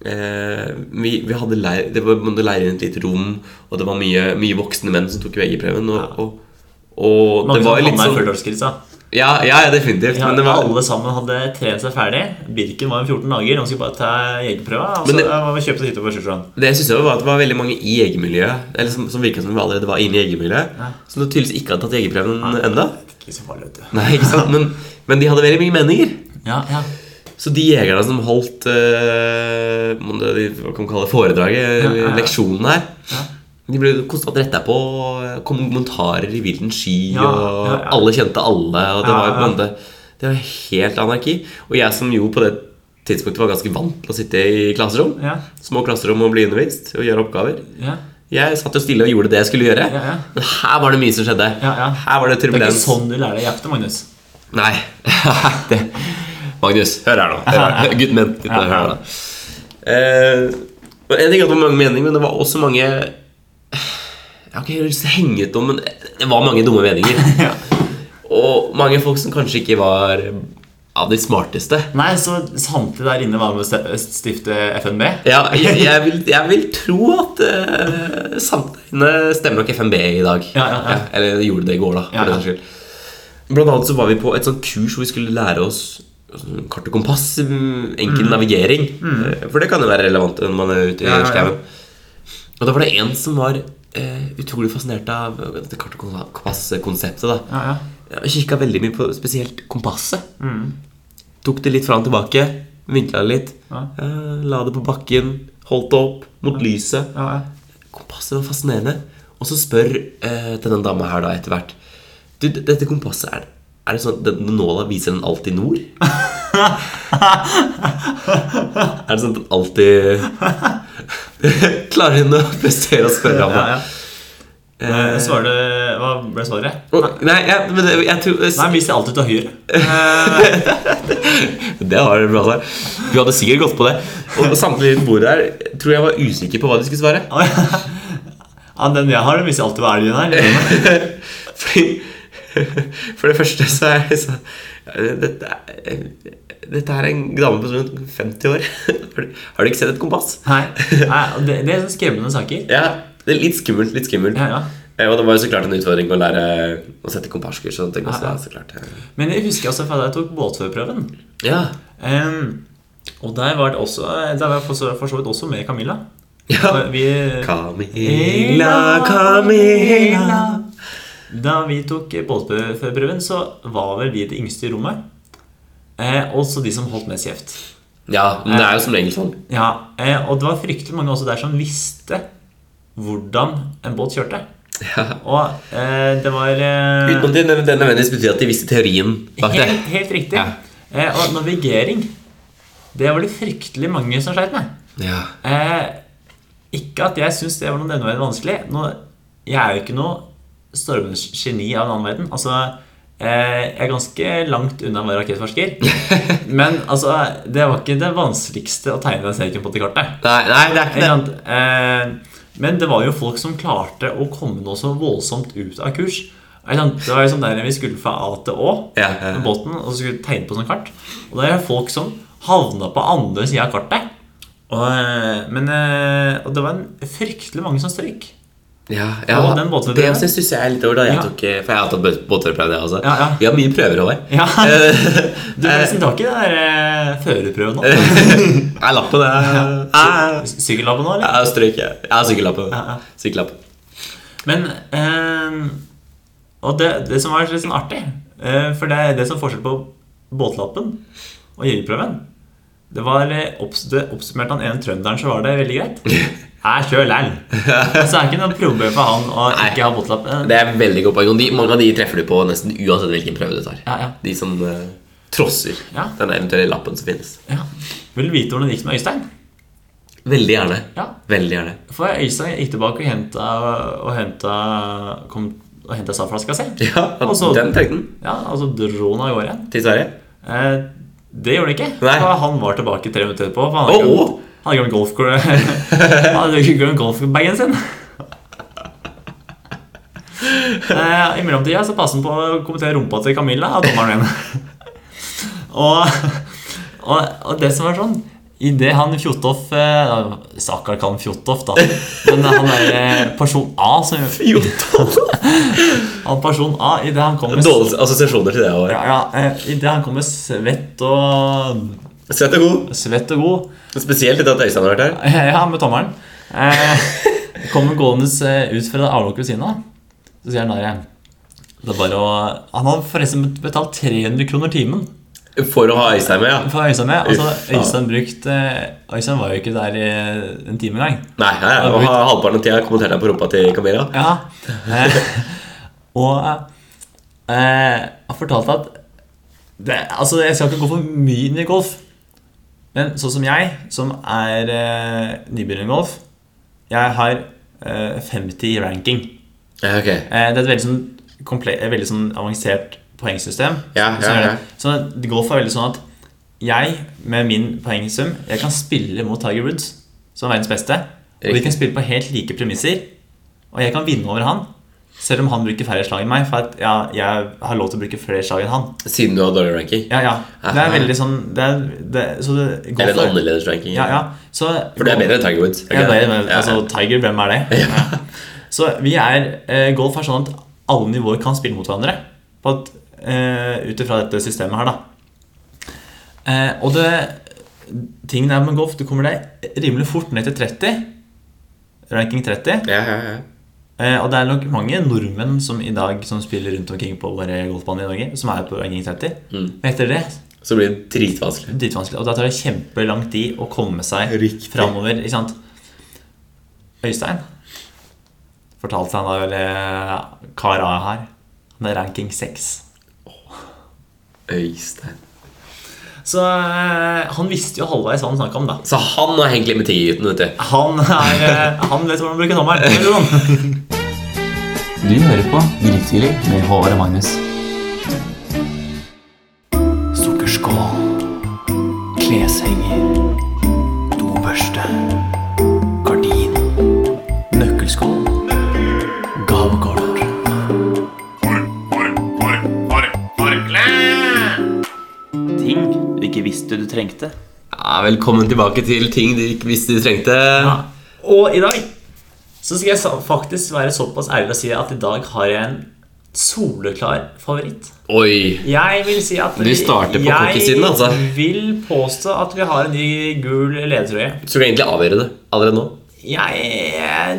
Speaker 1: eh, vi, vi hadde leir, det var man hadde leir inn et lite rom, og det var mye, mye voksne menn som tok jegerprøven. Og, og, og det
Speaker 2: Mange
Speaker 1: var
Speaker 2: som
Speaker 1: litt
Speaker 2: havna i
Speaker 1: sånn
Speaker 2: førtiårskrisa.
Speaker 1: Ja, ja definitivt.
Speaker 2: Ja,
Speaker 1: men det var,
Speaker 2: Alle sammen hadde trent seg ferdig. Birken var om 14 dager. Han skulle bare ta jegerprøva. Og
Speaker 1: Men
Speaker 2: så
Speaker 1: det-
Speaker 2: eh, var vi kjøpt hytte på Sjusjøen.
Speaker 1: det jeg synes jeg var at det var veldig mange i jegermiljøet eller som, som virka som vi allerede var inne i jegermiljøet,
Speaker 2: Ja.
Speaker 1: som tydeligvis ikke hadde tatt jegerprøven ennå.
Speaker 2: Ikke så farlig, vet du.
Speaker 1: Nei, ikke sant? Men, men de hadde veldig mye meninger.
Speaker 2: Ja, ja.
Speaker 1: Så de jegerne som holdt eh, om det- de, hva kan man kalle det, foredraget, eller
Speaker 2: ja, ja.
Speaker 1: leksjonen her,
Speaker 2: Ja.
Speaker 1: de ble konstant retta på. og Kom kommentarer i vilden sky,
Speaker 2: Ja,
Speaker 1: og
Speaker 2: ja, ja.
Speaker 1: alle kjente alle. Og det
Speaker 2: Ja,
Speaker 1: var jo på
Speaker 2: ja.
Speaker 1: en måte Det var helt anarki. Og jeg som jo på det tidspunktet var ganske vant til å sitte i klasserom,
Speaker 2: Ja.
Speaker 1: små klasserom og bli undervist og gjøre oppgaver,
Speaker 2: ja.
Speaker 1: jeg satt jo stille og gjorde det jeg skulle gjøre.
Speaker 2: Ja, ja.
Speaker 1: Men her var det mye som skjedde.
Speaker 2: Ja, ja.
Speaker 1: Her var det
Speaker 2: Det er
Speaker 1: turbulens.
Speaker 2: ikke sånn du lærer deg å jakte, Magnus.
Speaker 1: Nei. det. Magnus, hør her nå. Hør her. nå. Gutten min. Gutten min, hør her nå. Eh, en ting er at det var mange meninger, men det var også mange Jeg har ikke lyst til å henge ut om, men det var mange dumme meninger.
Speaker 2: Ja.
Speaker 1: Og mange folk som kanskje ikke var av de smarteste.
Speaker 2: Nei, så samtidig der inne var med å ste- stifte FNB.
Speaker 1: Ja, jeg, jeg, vil, jeg vil tro at uh, samtalene stemmer nok FNB i dag.
Speaker 2: Ja, ja, ja.
Speaker 1: eller de gjorde det i går, da. For
Speaker 2: Ja, ja.
Speaker 1: den saks skyld. Blant annet så var vi på et sånt kurs hvor vi skulle lære oss sånn kart og kompass, mm, enkel navigering. Eh, For det kan jo være relevant når man er ute i
Speaker 2: Mm. Ja, ja, ja.
Speaker 1: skauen. Og da var det en som var eh, utrolig fascinert av eh, dette kart- og kompass-konseptet. da
Speaker 2: Ja, ja.
Speaker 1: Jeg kikka veldig mye på spesielt kompasset. Tok det litt fram og tilbake, vinkla det litt.
Speaker 2: Ja.
Speaker 1: eh, La det på bakken, holdt det opp mot lyset.
Speaker 2: ja, ja.
Speaker 1: Kompasset var fascinerende. Og så spør eh, denne dama her da etter hvert Du, d- dette kompasset, er, er det sånn at den nåla viser den alltid nord? er det sånn at den alltid Klarer hun å prestere å spørre om det?
Speaker 2: ja, ja. Eh, Svarer du Hva ble svaret?
Speaker 1: Og- Nei, jeg, men det, jeg tror
Speaker 2: Nei, vis det alltid til høyre.
Speaker 1: Det var det bra svar. Du hadde sikkert gått på det. Og samtlige rundt bordet her tror jeg var usikker på hva de skulle svare.
Speaker 2: Å, ja. Ja, den jeg har, den viser alltid hva elgen er.
Speaker 1: Fordi, for det første så er det så, dette, er, dette er en dame på rundt 50 år. Har du- Har du ikke sett et kompass?
Speaker 2: Nei, nei, og det, det er sånne skremmende saker.
Speaker 1: Ja, det er Litt skummelt. litt skummelt
Speaker 2: Ja, ja.
Speaker 1: Eh, Og det var jo så klart en utfordring å lære å sette kompasskurs. og ting også,
Speaker 2: Ja, ja.
Speaker 1: da, så klart eh.
Speaker 2: Men jeg husker også fra da jeg tok båtførerprøven.
Speaker 1: Ja.
Speaker 2: Em, og der var det også Der var jeg for så for så vidt også med Camilla.
Speaker 1: ja.
Speaker 2: Vi,
Speaker 1: Camilla, Camilla
Speaker 2: Da vi tok båtførerprøven, så var vel vi det yngste i rommet. Eh, også de som holdt mest kjeft.
Speaker 1: Ja, men det er jo som regel sånn.
Speaker 2: Ja, eh, Og det var fryktelig mange også der som visste hvordan en båt kjørte.
Speaker 1: Ja.
Speaker 2: Og eh, det var eh,
Speaker 1: Uten at det nø- det nødvendigvis betyr at de visste teorien bak det.
Speaker 2: helt, helt riktig.
Speaker 1: Ja.
Speaker 2: Eh, og navigering, det var det fryktelig mange som sleit med.
Speaker 1: Ja.
Speaker 2: Eh, ikke at jeg syns det var noe nevneverdig vanskelig. Nå, jeg er jo ikke noe stormens geni av en annen verden. Altså, eh, jeg er ganske langt unna å være rakettforsker. Men altså, det var ikke det vanskeligste å tegne den serien på til kartet.
Speaker 1: Nei, nei, det er
Speaker 2: Ikke
Speaker 1: ikke det.
Speaker 2: sant? Eh, men det var jo folk som klarte å komme noe så voldsomt ut av kurs Er det sant? Det var jo sånn der vi skulle fra A til Å
Speaker 1: Ja, ja, ja.
Speaker 2: med båten, og så skulle vi tegne på sånn kart. Og det er folk som havna på andre sida av kartet. Og, eh, men, eh, og det var en fryktelig mange som strøyk.
Speaker 1: Ja,
Speaker 2: Og
Speaker 1: ja.
Speaker 2: den båtturen.
Speaker 1: Det også stusser jeg litt over. da jeg
Speaker 2: Ja.
Speaker 1: tok, eh, For jeg har tatt båt- båtførerprøve, altså. jeg også.
Speaker 2: Ja, ja.
Speaker 1: Vi har mye prøver, Håvard.
Speaker 2: Ja.
Speaker 1: Eh,
Speaker 2: Du
Speaker 1: eh,
Speaker 2: forresten, du har ikke den der eh, førerprøven nå?
Speaker 1: Jeg er lappen, jeg. Jeg-
Speaker 2: Sykkellabben nå, eller?
Speaker 1: Jeg strøyk, jeg. Jeg har sykkellappen.
Speaker 2: Ja, ja.
Speaker 1: Sykkellapp.
Speaker 2: Men eh, Og det, det som var litt sånn artig eh, For det er det som er forskjell på båtlappen og jegerprøven. Det var eh, opps, det oppsummerte han ene trønderen, så var det veldig greit. Jeg kjører læl. Så det er ikke noe problem for han å
Speaker 1: Nei.
Speaker 2: ikke ha båtlapp. Eh,
Speaker 1: Det er et veldig godt poeng. og de- Mange av de treffer du på nesten uansett hvilken prøve du tar.
Speaker 2: Ja, ja.
Speaker 1: De som eh, trosser
Speaker 2: Ja.
Speaker 1: den eventuelle lappen som finnes.
Speaker 2: Ja. Vil du vite hvordan det gikk med Øystein?
Speaker 1: Veldig gjerne.
Speaker 2: Ja.
Speaker 1: Veldig gjerne.
Speaker 2: For Øystein gikk tilbake og henta, og henta, kom, og henta saftflaska si.
Speaker 1: Ja,
Speaker 2: Og så-
Speaker 1: Den trengte den.
Speaker 2: Ja, og så dro han av gårde igjen.
Speaker 1: Til Sverige.
Speaker 2: Eh, det gjorde han ikke.
Speaker 1: Nei.
Speaker 2: For han var tilbake tre minutter etterpå. For han
Speaker 1: Åh,
Speaker 2: hadde glemt-
Speaker 1: åh.
Speaker 2: han hadde glemt golfklo- Han hadde ikke glemt golfbagen sin. Eh, I mellomtida så passet han på å kommentere rumpa til Camilla av dommeren igjen. og, og, og det som var sånn Idet han Fjottoff eh, Stakkar kall han Fjottoff, da. Men han er eh, person A som Han person A, idet han kom med
Speaker 1: Dårlige assosiasjoner til det. Håvard.
Speaker 2: ja, ja, eh, i det han kom med svett og
Speaker 1: Svett og god.
Speaker 2: Svett og god.
Speaker 1: Spesielt etter at Øystein har vært her.
Speaker 2: Ja, med tommelen. Eh, kommer gående eh, ut fra avlukket ved siden av. Så sier han der det er bare å... Han har forresten betalt 300 kroner timen
Speaker 1: For å ha Øystein med, ja.
Speaker 2: for Øystein med. Altså,
Speaker 1: Uff, faen.
Speaker 2: Øystein brukt eh, Øystein var jo ikke der i eh, en time engang.
Speaker 1: Nei, nei, nei, og ha- halvparten av tida kommenterte jeg på rumpa til Camilla.
Speaker 2: Ja. Eh, og eh, han fortalte at det, Altså, jeg skal ikke gå for mye inn i golf, men sånn som jeg, som er eh, nybegynner i golf Jeg har eh, 50 i ranking.
Speaker 1: Ja, ok.
Speaker 2: Eh, det er et veldig, sånn, komple- eh, veldig sånn avansert poengsystem.
Speaker 1: Ja, ja,
Speaker 2: Så er det-
Speaker 1: ja.
Speaker 2: Så golf er veldig sånn at jeg, med min poengsum, jeg kan spille mot Tiger Woods, som er verdens beste. Og vi
Speaker 1: Riktig.
Speaker 2: kan spille på helt like premisser. Og jeg kan vinne over han, selv om han bruker færre slag enn meg. For at, ja, jeg har lov til å bruke flere slag enn han.
Speaker 1: Siden du har dårlig ranking.
Speaker 2: Ja, ja. Det
Speaker 1: Aha.
Speaker 2: er veldig sånn det er, det, så det, golf
Speaker 1: Eller en
Speaker 2: er-
Speaker 1: annerledes ranking.
Speaker 2: Ja, ja. Så,
Speaker 1: For du er bedre enn Tiger Woods. er
Speaker 2: ja,
Speaker 1: ikke
Speaker 2: det
Speaker 1: det?
Speaker 2: er, men,
Speaker 1: Ja,
Speaker 2: altså, Tiger, hvem er det? Ja. Så vi er eh, Golf er sånn at alle nivåer kan spille mot hverandre. På at, eh, Ut ifra dette systemet her, da. Eh, og det tingen er med golf, du kommer deg rimelig fort ned til 30. Ranking 30.
Speaker 1: ja, ja, ja.
Speaker 2: Eh, og det er nok mange nordmenn som i dag som spiller rundt omkring på våre golfbaner i Norge, som er på ranking 30.
Speaker 1: Mm.
Speaker 2: Men etter det
Speaker 1: Så blir det dritvanskelig.
Speaker 2: dritvanskelig. Og da tar det kjempelang tid å komme seg
Speaker 1: Riktig.
Speaker 2: framover. Ikke sant? Øystein fortalte han da vel eh, kar A her. Han er ranking 6.
Speaker 1: Øystein.
Speaker 2: Så eh, han visste jo halvveis hva han snakka om, da.
Speaker 1: Så han er egentlig med tigheten, vet du.
Speaker 2: Han, er, eh, han vet hvordan han bruker tommelen. Du hører på Grytidlig med Håvard og Magnus.
Speaker 3: Sukkerskål. Kleshenger. Dobørste. Gardin. Nøkkelskål. Gavekort.
Speaker 2: Ting du ikke visste du trengte.
Speaker 1: Ja, velkommen tilbake til ting du ikke visste du trengte.
Speaker 2: Ja. Og i dag så skal jeg sa- faktisk være såpass ærlig å si at i dag har jeg en soleklar favoritt.
Speaker 1: Oi.
Speaker 2: Jeg vil si at
Speaker 1: Du starter på cookiesiden, altså.
Speaker 2: Jeg vil påstå at vi har en ny gul ledertrøye.
Speaker 1: Så du kan egentlig avgjøre det allerede nå.
Speaker 2: Jeg,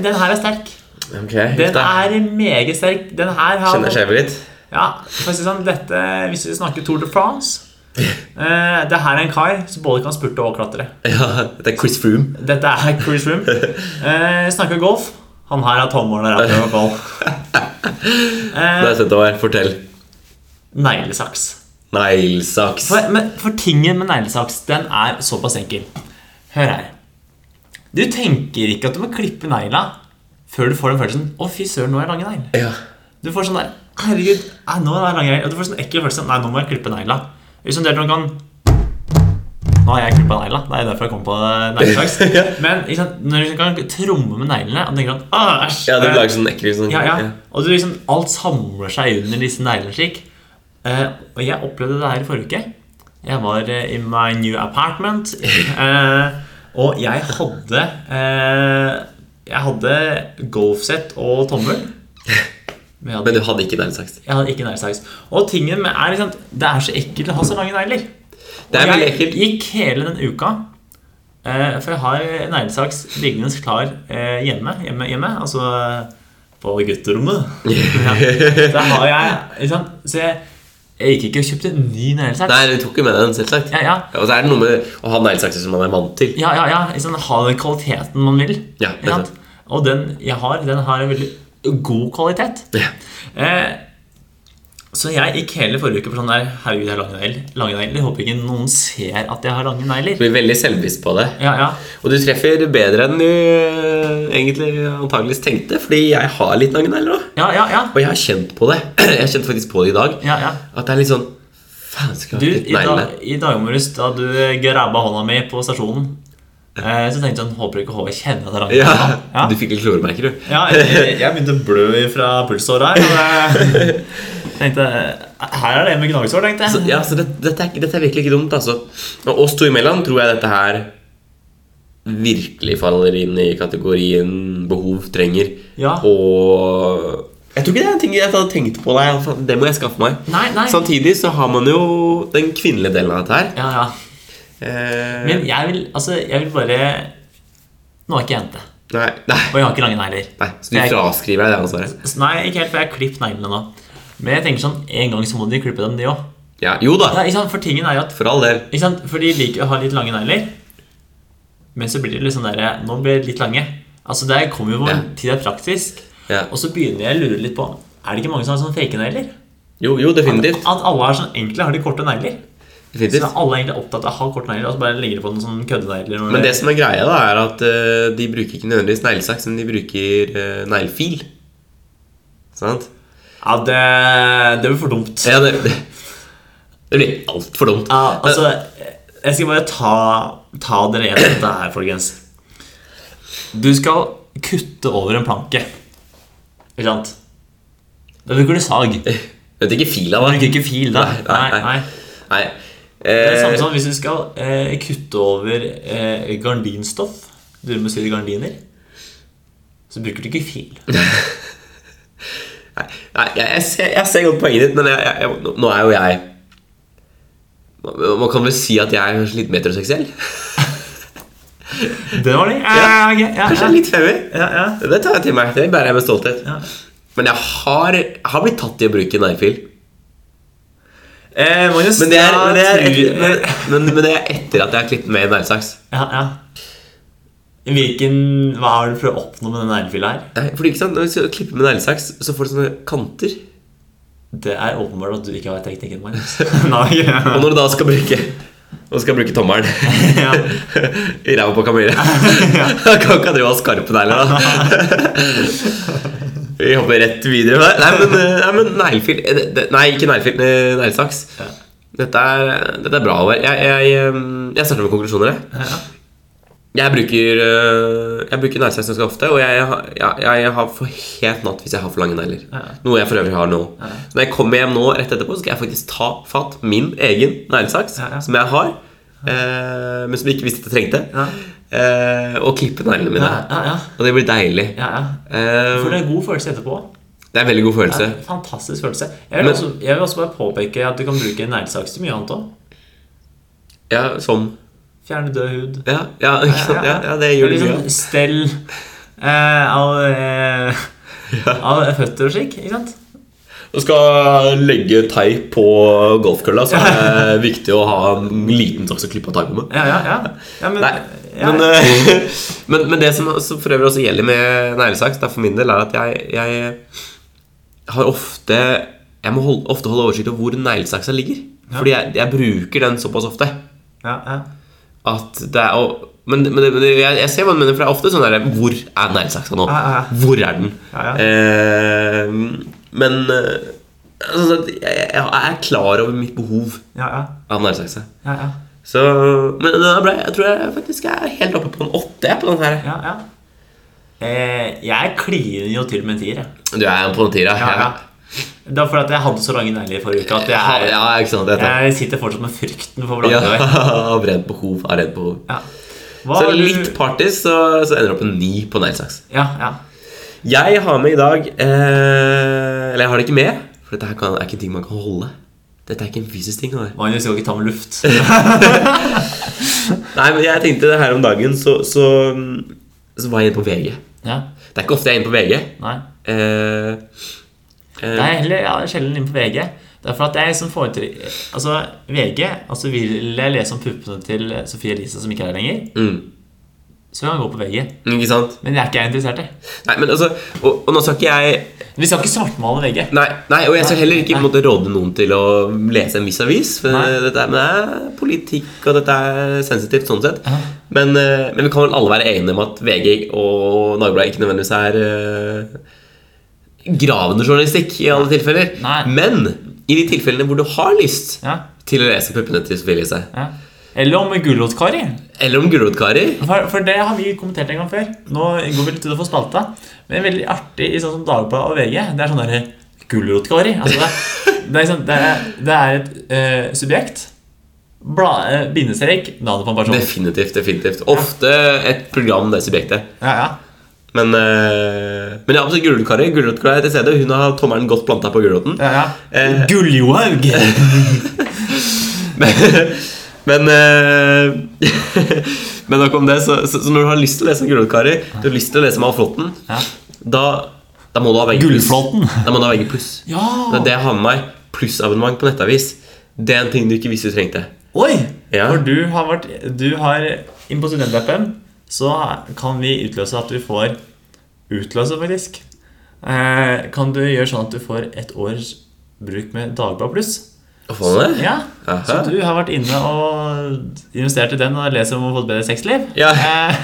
Speaker 2: den her er sterk.
Speaker 1: Ok,
Speaker 2: Den er meget sterk. Den her har
Speaker 1: Kjenner skjevet litt.
Speaker 2: Ja, for å si det sånn, dette, Hvis vi snakker Tour de France eh, Det her er en kar som både kan spurte og klatre.
Speaker 1: Ja, det er Chris Froome.
Speaker 2: Dette er Chris Room. Eh, snakker golf. Han her har tommelen og rattet og ball.
Speaker 1: Det er søtt å være. Fortell.
Speaker 2: Neglesaks.
Speaker 1: Neglesaks.
Speaker 2: For, men, for tingen med neglesaks, den er såpass enkel. Hør her. Du tenker ikke at du må klippe negla før du får den følelsen Å, fy søren, nå er jeg lange negler.
Speaker 1: Ja.
Speaker 2: Du får sånn der Herregud, nei, nå er jeg lange negler. Og du får sånn ekkel følelse Nei, nå må jeg klippe negla. Liksom det at man kan Nå har jeg klippa negla. Det er derfor jeg kom på eh, neglesaks. Men ikke sant, når du kan tromme med neglene og tenker at «Åh, æsj eh,
Speaker 1: Ja, du lager sånn ekkel sånn
Speaker 2: ja, altså, ja. Og du liksom, alt samler seg under disse neglene slik. Eh, og jeg opplevde det her i forrige uke. Jeg var eh, i my new apartment. eh, og jeg hadde eh, Jeg hadde golfsett og tommel. Men jeg hadde
Speaker 1: Men du hadde ikke neglesaks.
Speaker 2: jeg hadde ikke neglesaks. Og tingen med er liksom, Det er så ekkelt å ha så lange negler.
Speaker 1: Det er
Speaker 2: Og
Speaker 1: veldig
Speaker 2: jeg
Speaker 1: ekkelt.
Speaker 2: gikk hele den uka eh, For jeg har neglesaks liggende klar eh, hjemme, hjemme, hjemme. Altså eh, på gutterommet. ja. Så har jeg liksom, Så jeg, jeg gikk ikke og kjøpte ny neglesaks.
Speaker 1: Nei, du tok jo med deg den, selvsagt.
Speaker 2: Ja, ja.
Speaker 1: Og så er det noe med å ha neglesakser som man er vant til.
Speaker 2: Ja, ja, ja. Liksom, ha den kvaliteten man vil.
Speaker 1: Ja, det er
Speaker 2: Ikke sant?
Speaker 1: sant.
Speaker 2: Og den jeg har, den har en veldig god kvalitet.
Speaker 1: Ja.
Speaker 2: Eh, så jeg gikk hele forrige uke på sånn der Herregud, jeg har lange negler. Lange negler. Jeg håper ikke noen ser at jeg har lange negler.
Speaker 1: Blir veldig selvbevisst på det.
Speaker 2: Ja, ja.
Speaker 1: Og du treffer bedre enn du eh, egentlig antageligvis tenkte, fordi jeg har litt lange negler òg.
Speaker 2: Ja, ja, ja.
Speaker 1: Og jeg har kjent på det. Jeg har kjent faktisk på det i dag.
Speaker 2: ja, ja.
Speaker 1: At det er litt sånn Faen, skal
Speaker 2: Du,
Speaker 1: jeg ha
Speaker 2: i,
Speaker 1: litt negler?
Speaker 2: dag, I dag morges da du grabba hånda mi på stasjonen, eh, så tenkte jeg sånn Håper ikke Håvard kjenner at det er lange
Speaker 1: Ja.
Speaker 2: negler. Ja.
Speaker 1: Du fikk litt kloremerker, du.
Speaker 2: Ja, jeg, jeg begynte å blø fra pulsåret her. Og jeg tenkte Her er det en med gnagsår, tenkte
Speaker 1: Så,
Speaker 2: jeg.
Speaker 1: ja, så det, dette, er, ikke- dette er virkelig ikke dumt, altså. Og oss to imellom tror jeg dette her virkelig faller inn i kategorien behov trenger.
Speaker 2: Ja.
Speaker 1: Og jeg tror ikke det er en ting jeg hadde tenkt på. Nei, faen, det må jeg skaffe meg.
Speaker 2: Nei, nei.
Speaker 1: Samtidig så har man jo den kvinnelige delen av dette her.
Speaker 2: Ja, ja.
Speaker 1: Eh,
Speaker 2: Men jeg vil, altså, jeg vil bare Nå er ikke jeg jente,
Speaker 1: nei,
Speaker 2: og
Speaker 1: nei,
Speaker 2: jeg har ikke lange negler.
Speaker 1: nei, så du
Speaker 2: Jeg-
Speaker 1: fraskriver deg det ansvaret?
Speaker 2: Så Nei, ikke helt, for jeg har klippet neglene nå. Men jeg tenker sånn, en gang så må de klippe dem, de òg.
Speaker 1: Ja, jo da,
Speaker 2: Ja, ikke sant, for tingen er jo at
Speaker 1: for all del.
Speaker 2: ikke sant, For de liker å ha litt lange negler. Men så blir det litt sånn der Nå blir det litt lange. Altså, Det kommer jo på en
Speaker 1: Ja.
Speaker 2: tid det er praktisk.
Speaker 1: Ja.
Speaker 2: Og så begynner jeg å lure litt på Er det ikke mange som har sånne fake negler?
Speaker 1: Jo, jo, definitivt.
Speaker 2: At alle har sånn, egentlig har de korte negler. Så
Speaker 1: definitivt.
Speaker 2: alle er egentlig opptatt av å ha korte negler, og så bare legger de på noen sånne køddenegler. når
Speaker 1: Men
Speaker 2: de-
Speaker 1: det som er greia, da, er at eh, de bruker ikke nødvendigvis neglesaks, men de bruker uh, neglefil. Sant?
Speaker 2: Ja, det, det blir for dumt.
Speaker 1: Ja, det, det, det blir altfor dumt.
Speaker 2: Ja, altså, jeg skal bare ta, ta dere gjennom dette her, folkens. Du skal kutte over en planke. Ikke sant? Da bruker du sag. Du
Speaker 1: Eh, Vet ikke fila, da.
Speaker 2: bruker ikke fil da.
Speaker 1: Nei, nei, nei. Nei.
Speaker 2: Det er det samme
Speaker 1: Eh,
Speaker 2: som hvis du skal eh, kutte over eh, gardinstoff. Du må sy gardiner. Så bruker du ikke fil.
Speaker 1: nei, nei jeg, jeg, ser, jeg ser godt poenget ditt, men jeg, jeg, jeg, nå- nå er jo jeg Man kan vel si at jeg er kanskje litt metroseksuell?
Speaker 2: Det var det. Ja, ok, ja,
Speaker 1: Kanskje jeg er litt femi?
Speaker 2: ja, ja.
Speaker 1: Det tar jeg til meg. Det bærer jeg med stolthet.
Speaker 2: Ja.
Speaker 1: Men jeg har, jeg har blitt tatt i å bruke neglefil.
Speaker 2: Eh, Magnus,
Speaker 1: Men det er,
Speaker 2: jeg
Speaker 1: men det er,
Speaker 2: tror-
Speaker 1: etter, men, men, men det er etter at jeg har klippet med neglesaks.
Speaker 2: Ja, ja. Hvilken, hva har du prøvd å oppnå med den neglefila her?
Speaker 1: Nei, Fordi ikke sant, Når du klipper med neglesaks, så får du sånne kanter.
Speaker 2: Det er åpenbart at du ikke har teknikken, Magnus. Nei, ja.
Speaker 1: Og når du da skal bruke Og skal bruke tommelen
Speaker 2: Ja.
Speaker 1: i ræva på Kamille Da kan ikke drive og ha skarpe negler, da. Vi hopper rett videre. Nei, Nei, men, eh, nei, men neglefil eh, det- det- Nei, ikke neglefil. eh, Neglesaks.
Speaker 2: Ja.
Speaker 1: Dette, er- dette er bra. Håvard. Jeg, jeg, eh, jeg starter med konklusjoner. jeg.
Speaker 2: Ja.
Speaker 1: Jeg bruker, øh, jeg bruker neglesaks ganske ofte, og jeg, har- jeg, jeg har for helt natt hvis jeg har for lange negler.
Speaker 2: Ja.
Speaker 1: Noe jeg for øvrig har nå.
Speaker 2: Ja.
Speaker 1: Når jeg kommer hjem nå rett etterpå, så skal jeg faktisk ta fatt min egen neglesaks,
Speaker 2: Ja, ja.
Speaker 1: som jeg har, eh, men som jeg ikke visste at jeg trengte,
Speaker 2: Ja.
Speaker 1: eh, og klippe neglene mine.
Speaker 2: Ja, ja, ja.
Speaker 1: Og det blir deilig.
Speaker 2: ja, ja.
Speaker 1: Eh,
Speaker 2: For det er en god følelse etterpå.
Speaker 1: det er en veldig god
Speaker 2: Det
Speaker 1: følelse.
Speaker 2: er en fantastisk følelse. Jeg vil,
Speaker 1: Men-
Speaker 2: også, jeg vil også bare påpeke at du kan bruke neglesaks til mye annet òg.
Speaker 1: Ja, som
Speaker 2: Fjerne død hud.
Speaker 1: Ja, ja, ikke sant? ja, ja det gjør det
Speaker 2: Eller
Speaker 1: mye.
Speaker 2: liksom Stell eh, av, eh, av føtter og slik. Ikke sant?
Speaker 1: Du skal legge teip på golfkølla, så er det viktig å ha en liten saks å klippe av teipen med.
Speaker 2: Ja, ja, ja. ja men,
Speaker 1: Nei,
Speaker 2: ja,
Speaker 1: men, eh, men, men det som også for øvrig også gjelder med neglesaks, da, for min del, er at jeg, jeg har ofte Jeg må holde, ofte holde oversikt over hvor neglesaksa ligger.
Speaker 2: Ja.
Speaker 1: Fordi jeg, jeg bruker den såpass ofte
Speaker 2: ja, ja.
Speaker 1: at det er og, men, men, det- men det- jeg, jeg ser hva du mener, for det er ofte sånn der Hvor er neglesaksa nå?
Speaker 2: Ja, ja, ja.
Speaker 1: Hvor er den?
Speaker 2: Ja, ja.
Speaker 1: Eh, men eh, altså, jeg, jeg er klar over mitt behov
Speaker 2: ja, ja,
Speaker 1: av neglesaksa.
Speaker 2: ja, ja.
Speaker 1: Så, men da ble, jeg tror jeg faktisk er helt oppe på en åtte. jeg, på den her.
Speaker 2: Ja, ja. Eh, jeg kliner jo til med en tier. jeg.
Speaker 1: Du er en på en tier, ja.
Speaker 2: Ja, ja. Det er fordi at jeg hadde så lange negler i forrige uke at
Speaker 1: Ja,
Speaker 2: jeg,
Speaker 1: ja, ikke sant, dette.
Speaker 2: jeg sitter fortsatt med frykten for
Speaker 1: Ja,
Speaker 2: blanke øyne.
Speaker 1: av rent behov. Av rent behov.
Speaker 2: Ja. Hva
Speaker 1: Så
Speaker 2: har du-
Speaker 1: litt partisk, så, så ender det opp en ni på neglesaks.
Speaker 2: Ja, ja.
Speaker 1: Jeg har med i dag eh, Eller jeg har det ikke med, for dette her kan, er ikke en ting man kan holde. Dette er ikke en fysisk ting. det her.
Speaker 2: Magnus skal ikke ta med luft.
Speaker 1: Nei, men jeg tenkte det her om dagen, så, så, så var jeg inne på VG.
Speaker 2: Ja,
Speaker 1: Det er ikke ofte jeg er inne på VG.
Speaker 2: nei.
Speaker 1: Eh, eh,
Speaker 2: Nei, heller ja, sjelden inn på VG. Det er for at jeg som foretrekker Altså, VG altså vil jeg lese om puppene til Sofie Elise, som ikke er her lenger,
Speaker 1: Mm,
Speaker 2: så kan jeg gå på VG.
Speaker 1: ikke sant?
Speaker 2: Men jeg er ikke jeg interessert i.
Speaker 1: Nei, men altså Og, og nå skal ikke jeg
Speaker 2: Vi skal ikke svartmale VG.
Speaker 1: Nei, nei og jeg skal
Speaker 2: Nei,
Speaker 1: heller ikke på en
Speaker 2: nei.
Speaker 1: måte råde noen til å lese en viss avis. For
Speaker 2: Nei.
Speaker 1: dette er, men det er politikk, og dette er sensitivt sånn sett.
Speaker 2: Ja.
Speaker 1: Men, eh, men vi kan vel alle være enige om at VG og Dagbladet ikke nødvendigvis er eh, gravende journalistikk i alle tilfeller.
Speaker 2: Nei.
Speaker 1: Men i de tilfellene hvor du har lyst
Speaker 2: Ja,
Speaker 1: til å lese puppene til Sofie Elise,
Speaker 2: ja. Eller om Gulrotkari.
Speaker 1: eller om gulrotkarer
Speaker 2: For, for det har vi kommentert en gang før. Nå går vi litt ut og får spalta. Men veldig artig i sånn som Dagbladet og VG. Det er sånn derre gulrotkari. Altså det, det, er liksom, det, er, det er et eh, subjekt. Bla, eh, bindestrek. Navnet på en person.
Speaker 1: Definitivt. definitivt Ofte et program, det subjektet.
Speaker 2: Ja, ja.
Speaker 1: Men, eh, men ja, absolutt gulrotkarer. Gulrotkarer er til stede. Hun har tommelen godt planta på gulroten.
Speaker 2: ja, ja.
Speaker 1: Eh,
Speaker 2: Gulljohaug!
Speaker 1: Men, men, eh, men nok om det. Så, så, så når du har lyst til å lese om Gullrotkarer, du har lyst til å lese om Alflåten,
Speaker 2: Ja.
Speaker 1: da, da må du ha VG+.
Speaker 2: Gullflåten.
Speaker 1: Da må du ha VG+.
Speaker 2: Ja!
Speaker 1: Det er det jeg har med meg. Plussabonnement på nettavis. Det er en ting du ikke visste du trengte.
Speaker 2: Oi!
Speaker 1: Ja.
Speaker 2: For du har vært Du har Inn på studentappen så kan vi utløse at du får Utløse, faktisk. Eh, kan du gjøre sånn at du får et års bruk med Dagbladet Pluss?
Speaker 1: Å få med det?
Speaker 2: Ja.
Speaker 1: Aha.
Speaker 2: Så du har vært inne og investert i den og leser om å få et bedre sexliv?
Speaker 1: Ja.
Speaker 2: Eh,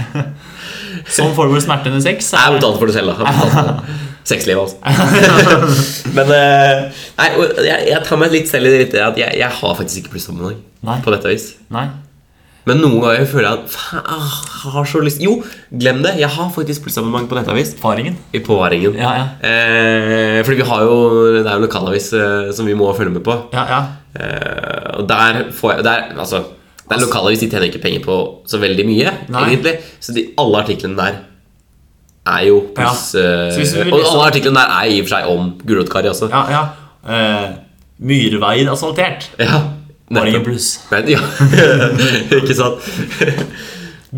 Speaker 2: sånn får du vel smerte under sex?
Speaker 1: Jeg betalte for det selv, da. Jeg betalte for det. Sexlivet, altså. men eh, Nei, og jeg, jeg tar meg litt selv i det rette at jeg, jeg har faktisk ikke
Speaker 2: Nei.
Speaker 1: plussabonnement på nettavis.
Speaker 2: Nei.
Speaker 1: Men noen ganger føler jeg at faen, ah, jeg har så lyst Jo, glem det. Jeg har faktisk plussabonnement på nettavis.
Speaker 2: Erfaringen?
Speaker 1: I påvaringen.
Speaker 2: Ja, ja.
Speaker 1: Eh, fordi vi har jo Det er jo lokalavis eh, som vi må følge med på.
Speaker 2: Ja, ja.
Speaker 1: Eh, og der får jeg der, Altså, det er lokalavis, de tjener ikke penger på så veldig mye,
Speaker 2: Nei.
Speaker 1: egentlig. Så de, alle artiklene der er jo pluss
Speaker 2: Ja.
Speaker 1: eh,
Speaker 2: Så hvis vi vil
Speaker 1: Og
Speaker 2: lese-
Speaker 1: alle artiklene der er i og for seg om Gulrotkari også.
Speaker 2: ja, ja. Eh, Myrveien asfaltert.
Speaker 1: Ja,
Speaker 2: Erfaringen
Speaker 1: nettopp.
Speaker 2: pluss.
Speaker 1: Nei, ja. ikke sant?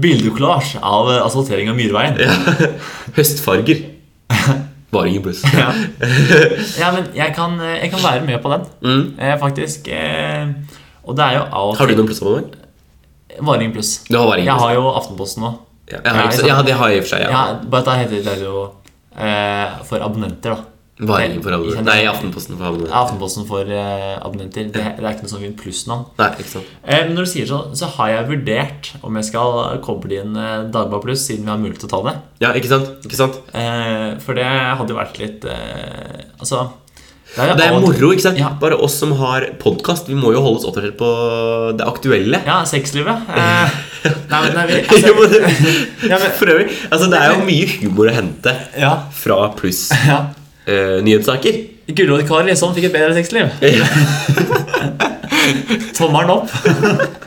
Speaker 2: Bildekollasj av eh, asfaltering av Myrveien. Ja.
Speaker 1: Høstfarger. Varingen pluss.
Speaker 2: men jeg kan, eh, jeg kan være med på den,
Speaker 1: Mm.
Speaker 2: eh, faktisk. Eh, og det er jo av og
Speaker 1: Har du noen plussabonnement?
Speaker 2: til Varing pluss.
Speaker 1: Du har varingen
Speaker 2: Jeg
Speaker 1: pluss.
Speaker 2: har jo Aftenposten nå.
Speaker 1: Ja, jeg har,
Speaker 2: Ja,
Speaker 1: ikke- ja, det har jeg i og for seg. Ja.
Speaker 2: Ja, bare da heter det jo eh, for abonnenter, da.
Speaker 1: Varingen for alle.
Speaker 2: Kjenner-
Speaker 1: Nei, Aftenposten for alle.
Speaker 2: Ja, Aftenposten for eh, abonnenter. Det, det er ikke noe sånn fint plussnavn.
Speaker 1: Nei, ikke sant.
Speaker 2: Eh, men når du sier sånn, så har jeg vurdert om jeg skal koble inn eh, Dagbladet Pluss, siden vi har mulighet til å ta det.
Speaker 1: Ja, ikke sant? Ikke sant?
Speaker 2: Eh, for det hadde jo vært litt eh, Altså det jo
Speaker 1: Det er
Speaker 2: av og til-
Speaker 1: moro, ikke sant?
Speaker 2: Ja.
Speaker 1: Bare oss som har podkast, vi må jo holde oss oppdatert på det aktuelle.
Speaker 2: Ja, sexlivet. Eh, nei, men nei, vi,
Speaker 1: Jo, men det-
Speaker 2: ja, men,
Speaker 1: For øvrig, altså det er jo mye humor å hente
Speaker 2: ja,
Speaker 1: fra pluss
Speaker 2: ja.
Speaker 1: eh, nyhetssaker.
Speaker 2: Gulrotkar liksom fikk et bedre sexliv. Tommelen opp.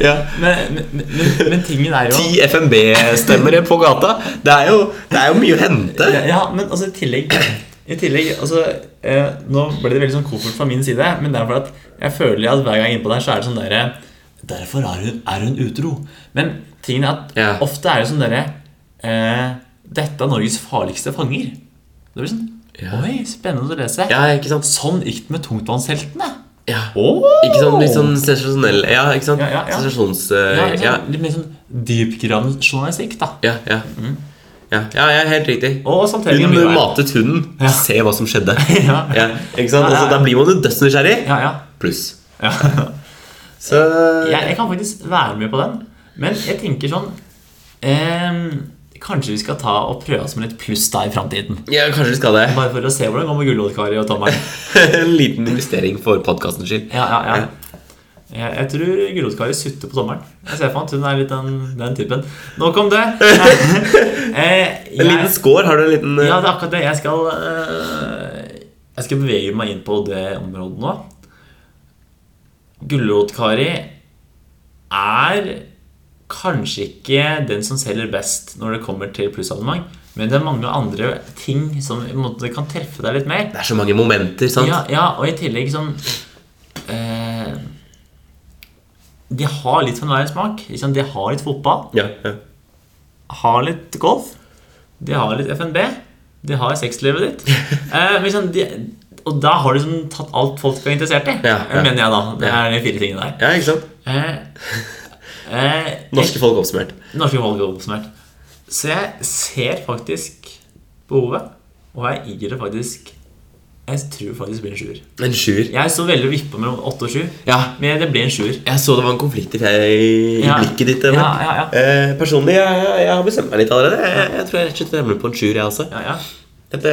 Speaker 1: Ja.
Speaker 2: Men, men, men, men tingen er jo
Speaker 1: Ti FNB-stemmere på gata. Det er, jo, det er jo mye å hente.
Speaker 2: Ja, men altså i tillegg I tillegg, altså eh, Nå ble det veldig sånn koffert fra min side Men det er fordi at jeg føler at hver gang jeg er innpå der Så er det sånn der Derfor er hun, er hun utro Men tingen er at
Speaker 1: Ja.
Speaker 2: ofte er det sånn der eh, Dette er Norges farligste fanger Det blir sånn Oi, spennende å lese
Speaker 1: Ja, ikke sant?
Speaker 2: Sånn gikk det med tungtvannsheltene
Speaker 1: Ja.
Speaker 2: Åh
Speaker 1: Ikke sant? Litt sånn sensasjonell Ja, ikke sant?
Speaker 2: Ja, ja, ja.
Speaker 1: Sensasjons...
Speaker 2: ja,
Speaker 1: eh, ja,
Speaker 2: sånn, Litt mer sånn dypgravende journalistikk da
Speaker 1: ja, ja.
Speaker 2: Mhm.
Speaker 1: Ja, ja, ja, helt riktig.
Speaker 2: Og samtidig
Speaker 1: Hun matet hunden. Se hva som skjedde.
Speaker 2: Ja.
Speaker 1: Ja, ikke sant?
Speaker 2: Ja, ja,
Speaker 1: Altså,
Speaker 2: ja.
Speaker 1: da blir man jo dødsnysgjerrig.
Speaker 2: Ja, ja
Speaker 1: Pluss.
Speaker 2: Ja
Speaker 1: Så
Speaker 2: jeg, jeg kan faktisk være med på den. Men jeg tenker sånn eh, Kanskje vi skal ta og prøve oss med litt pluss da i framtiden.
Speaker 1: Ja, kanskje vi skal det.
Speaker 2: Bare for å se hvordan det går med gulrotkaret og tommelen.
Speaker 1: en liten investering for podkastens skyld.
Speaker 2: Ja, ja, ja. Jeg, jeg tror gulrotkaret sutter på tommelen. Jeg ser for meg at hun er litt den, den typen. Nok om det. Eh,
Speaker 1: En liten
Speaker 2: jeg,
Speaker 1: score, har du en liten eh,
Speaker 2: ja, det er akkurat det. Jeg skal, eh, jeg skal bevege meg inn på det området nå. Gulrotkari er kanskje ikke den som selger best når det kommer til plussabonnement, men det er mange andre ting som på en måte, kan treffe deg litt mer.
Speaker 1: Det er så mange momenter, sant?
Speaker 2: Ja, ja, og i tillegg sånn eh, De har litt for enhver smak. Liksom, de har litt fotball,
Speaker 1: Ja, ja.
Speaker 2: har litt golf, de har litt FNB, de har sexlivet ditt. Eh, men liksom, de, og da har du liksom tatt alt folk er interessert i,
Speaker 1: Ja, ja.
Speaker 2: mener jeg da. Det er de fire tingene der.
Speaker 1: ja ikke sant?
Speaker 2: Eh, eh,
Speaker 1: Norske folk oppsummert.
Speaker 2: Norske valg er oppsummert. Så jeg ser faktisk behovet, og jeg gir det faktisk Jeg tror faktisk det blir en sjuer.
Speaker 1: En sjuer.
Speaker 2: Jeg så veldig vippa mellom åtte og sju,
Speaker 1: Ja.
Speaker 2: men det ble en sjuer.
Speaker 1: Jeg så det var en konflikt i, i
Speaker 2: Ja.
Speaker 1: blikket ditt. Emil.
Speaker 2: Ja, ja, ja.
Speaker 1: Eh, personlig, jeg, jeg, jeg har bestemt meg litt allerede. Jeg, jeg tror jeg rett og slett fremmer på en sjuer, jeg også.
Speaker 2: Ja, ja.
Speaker 1: Dette,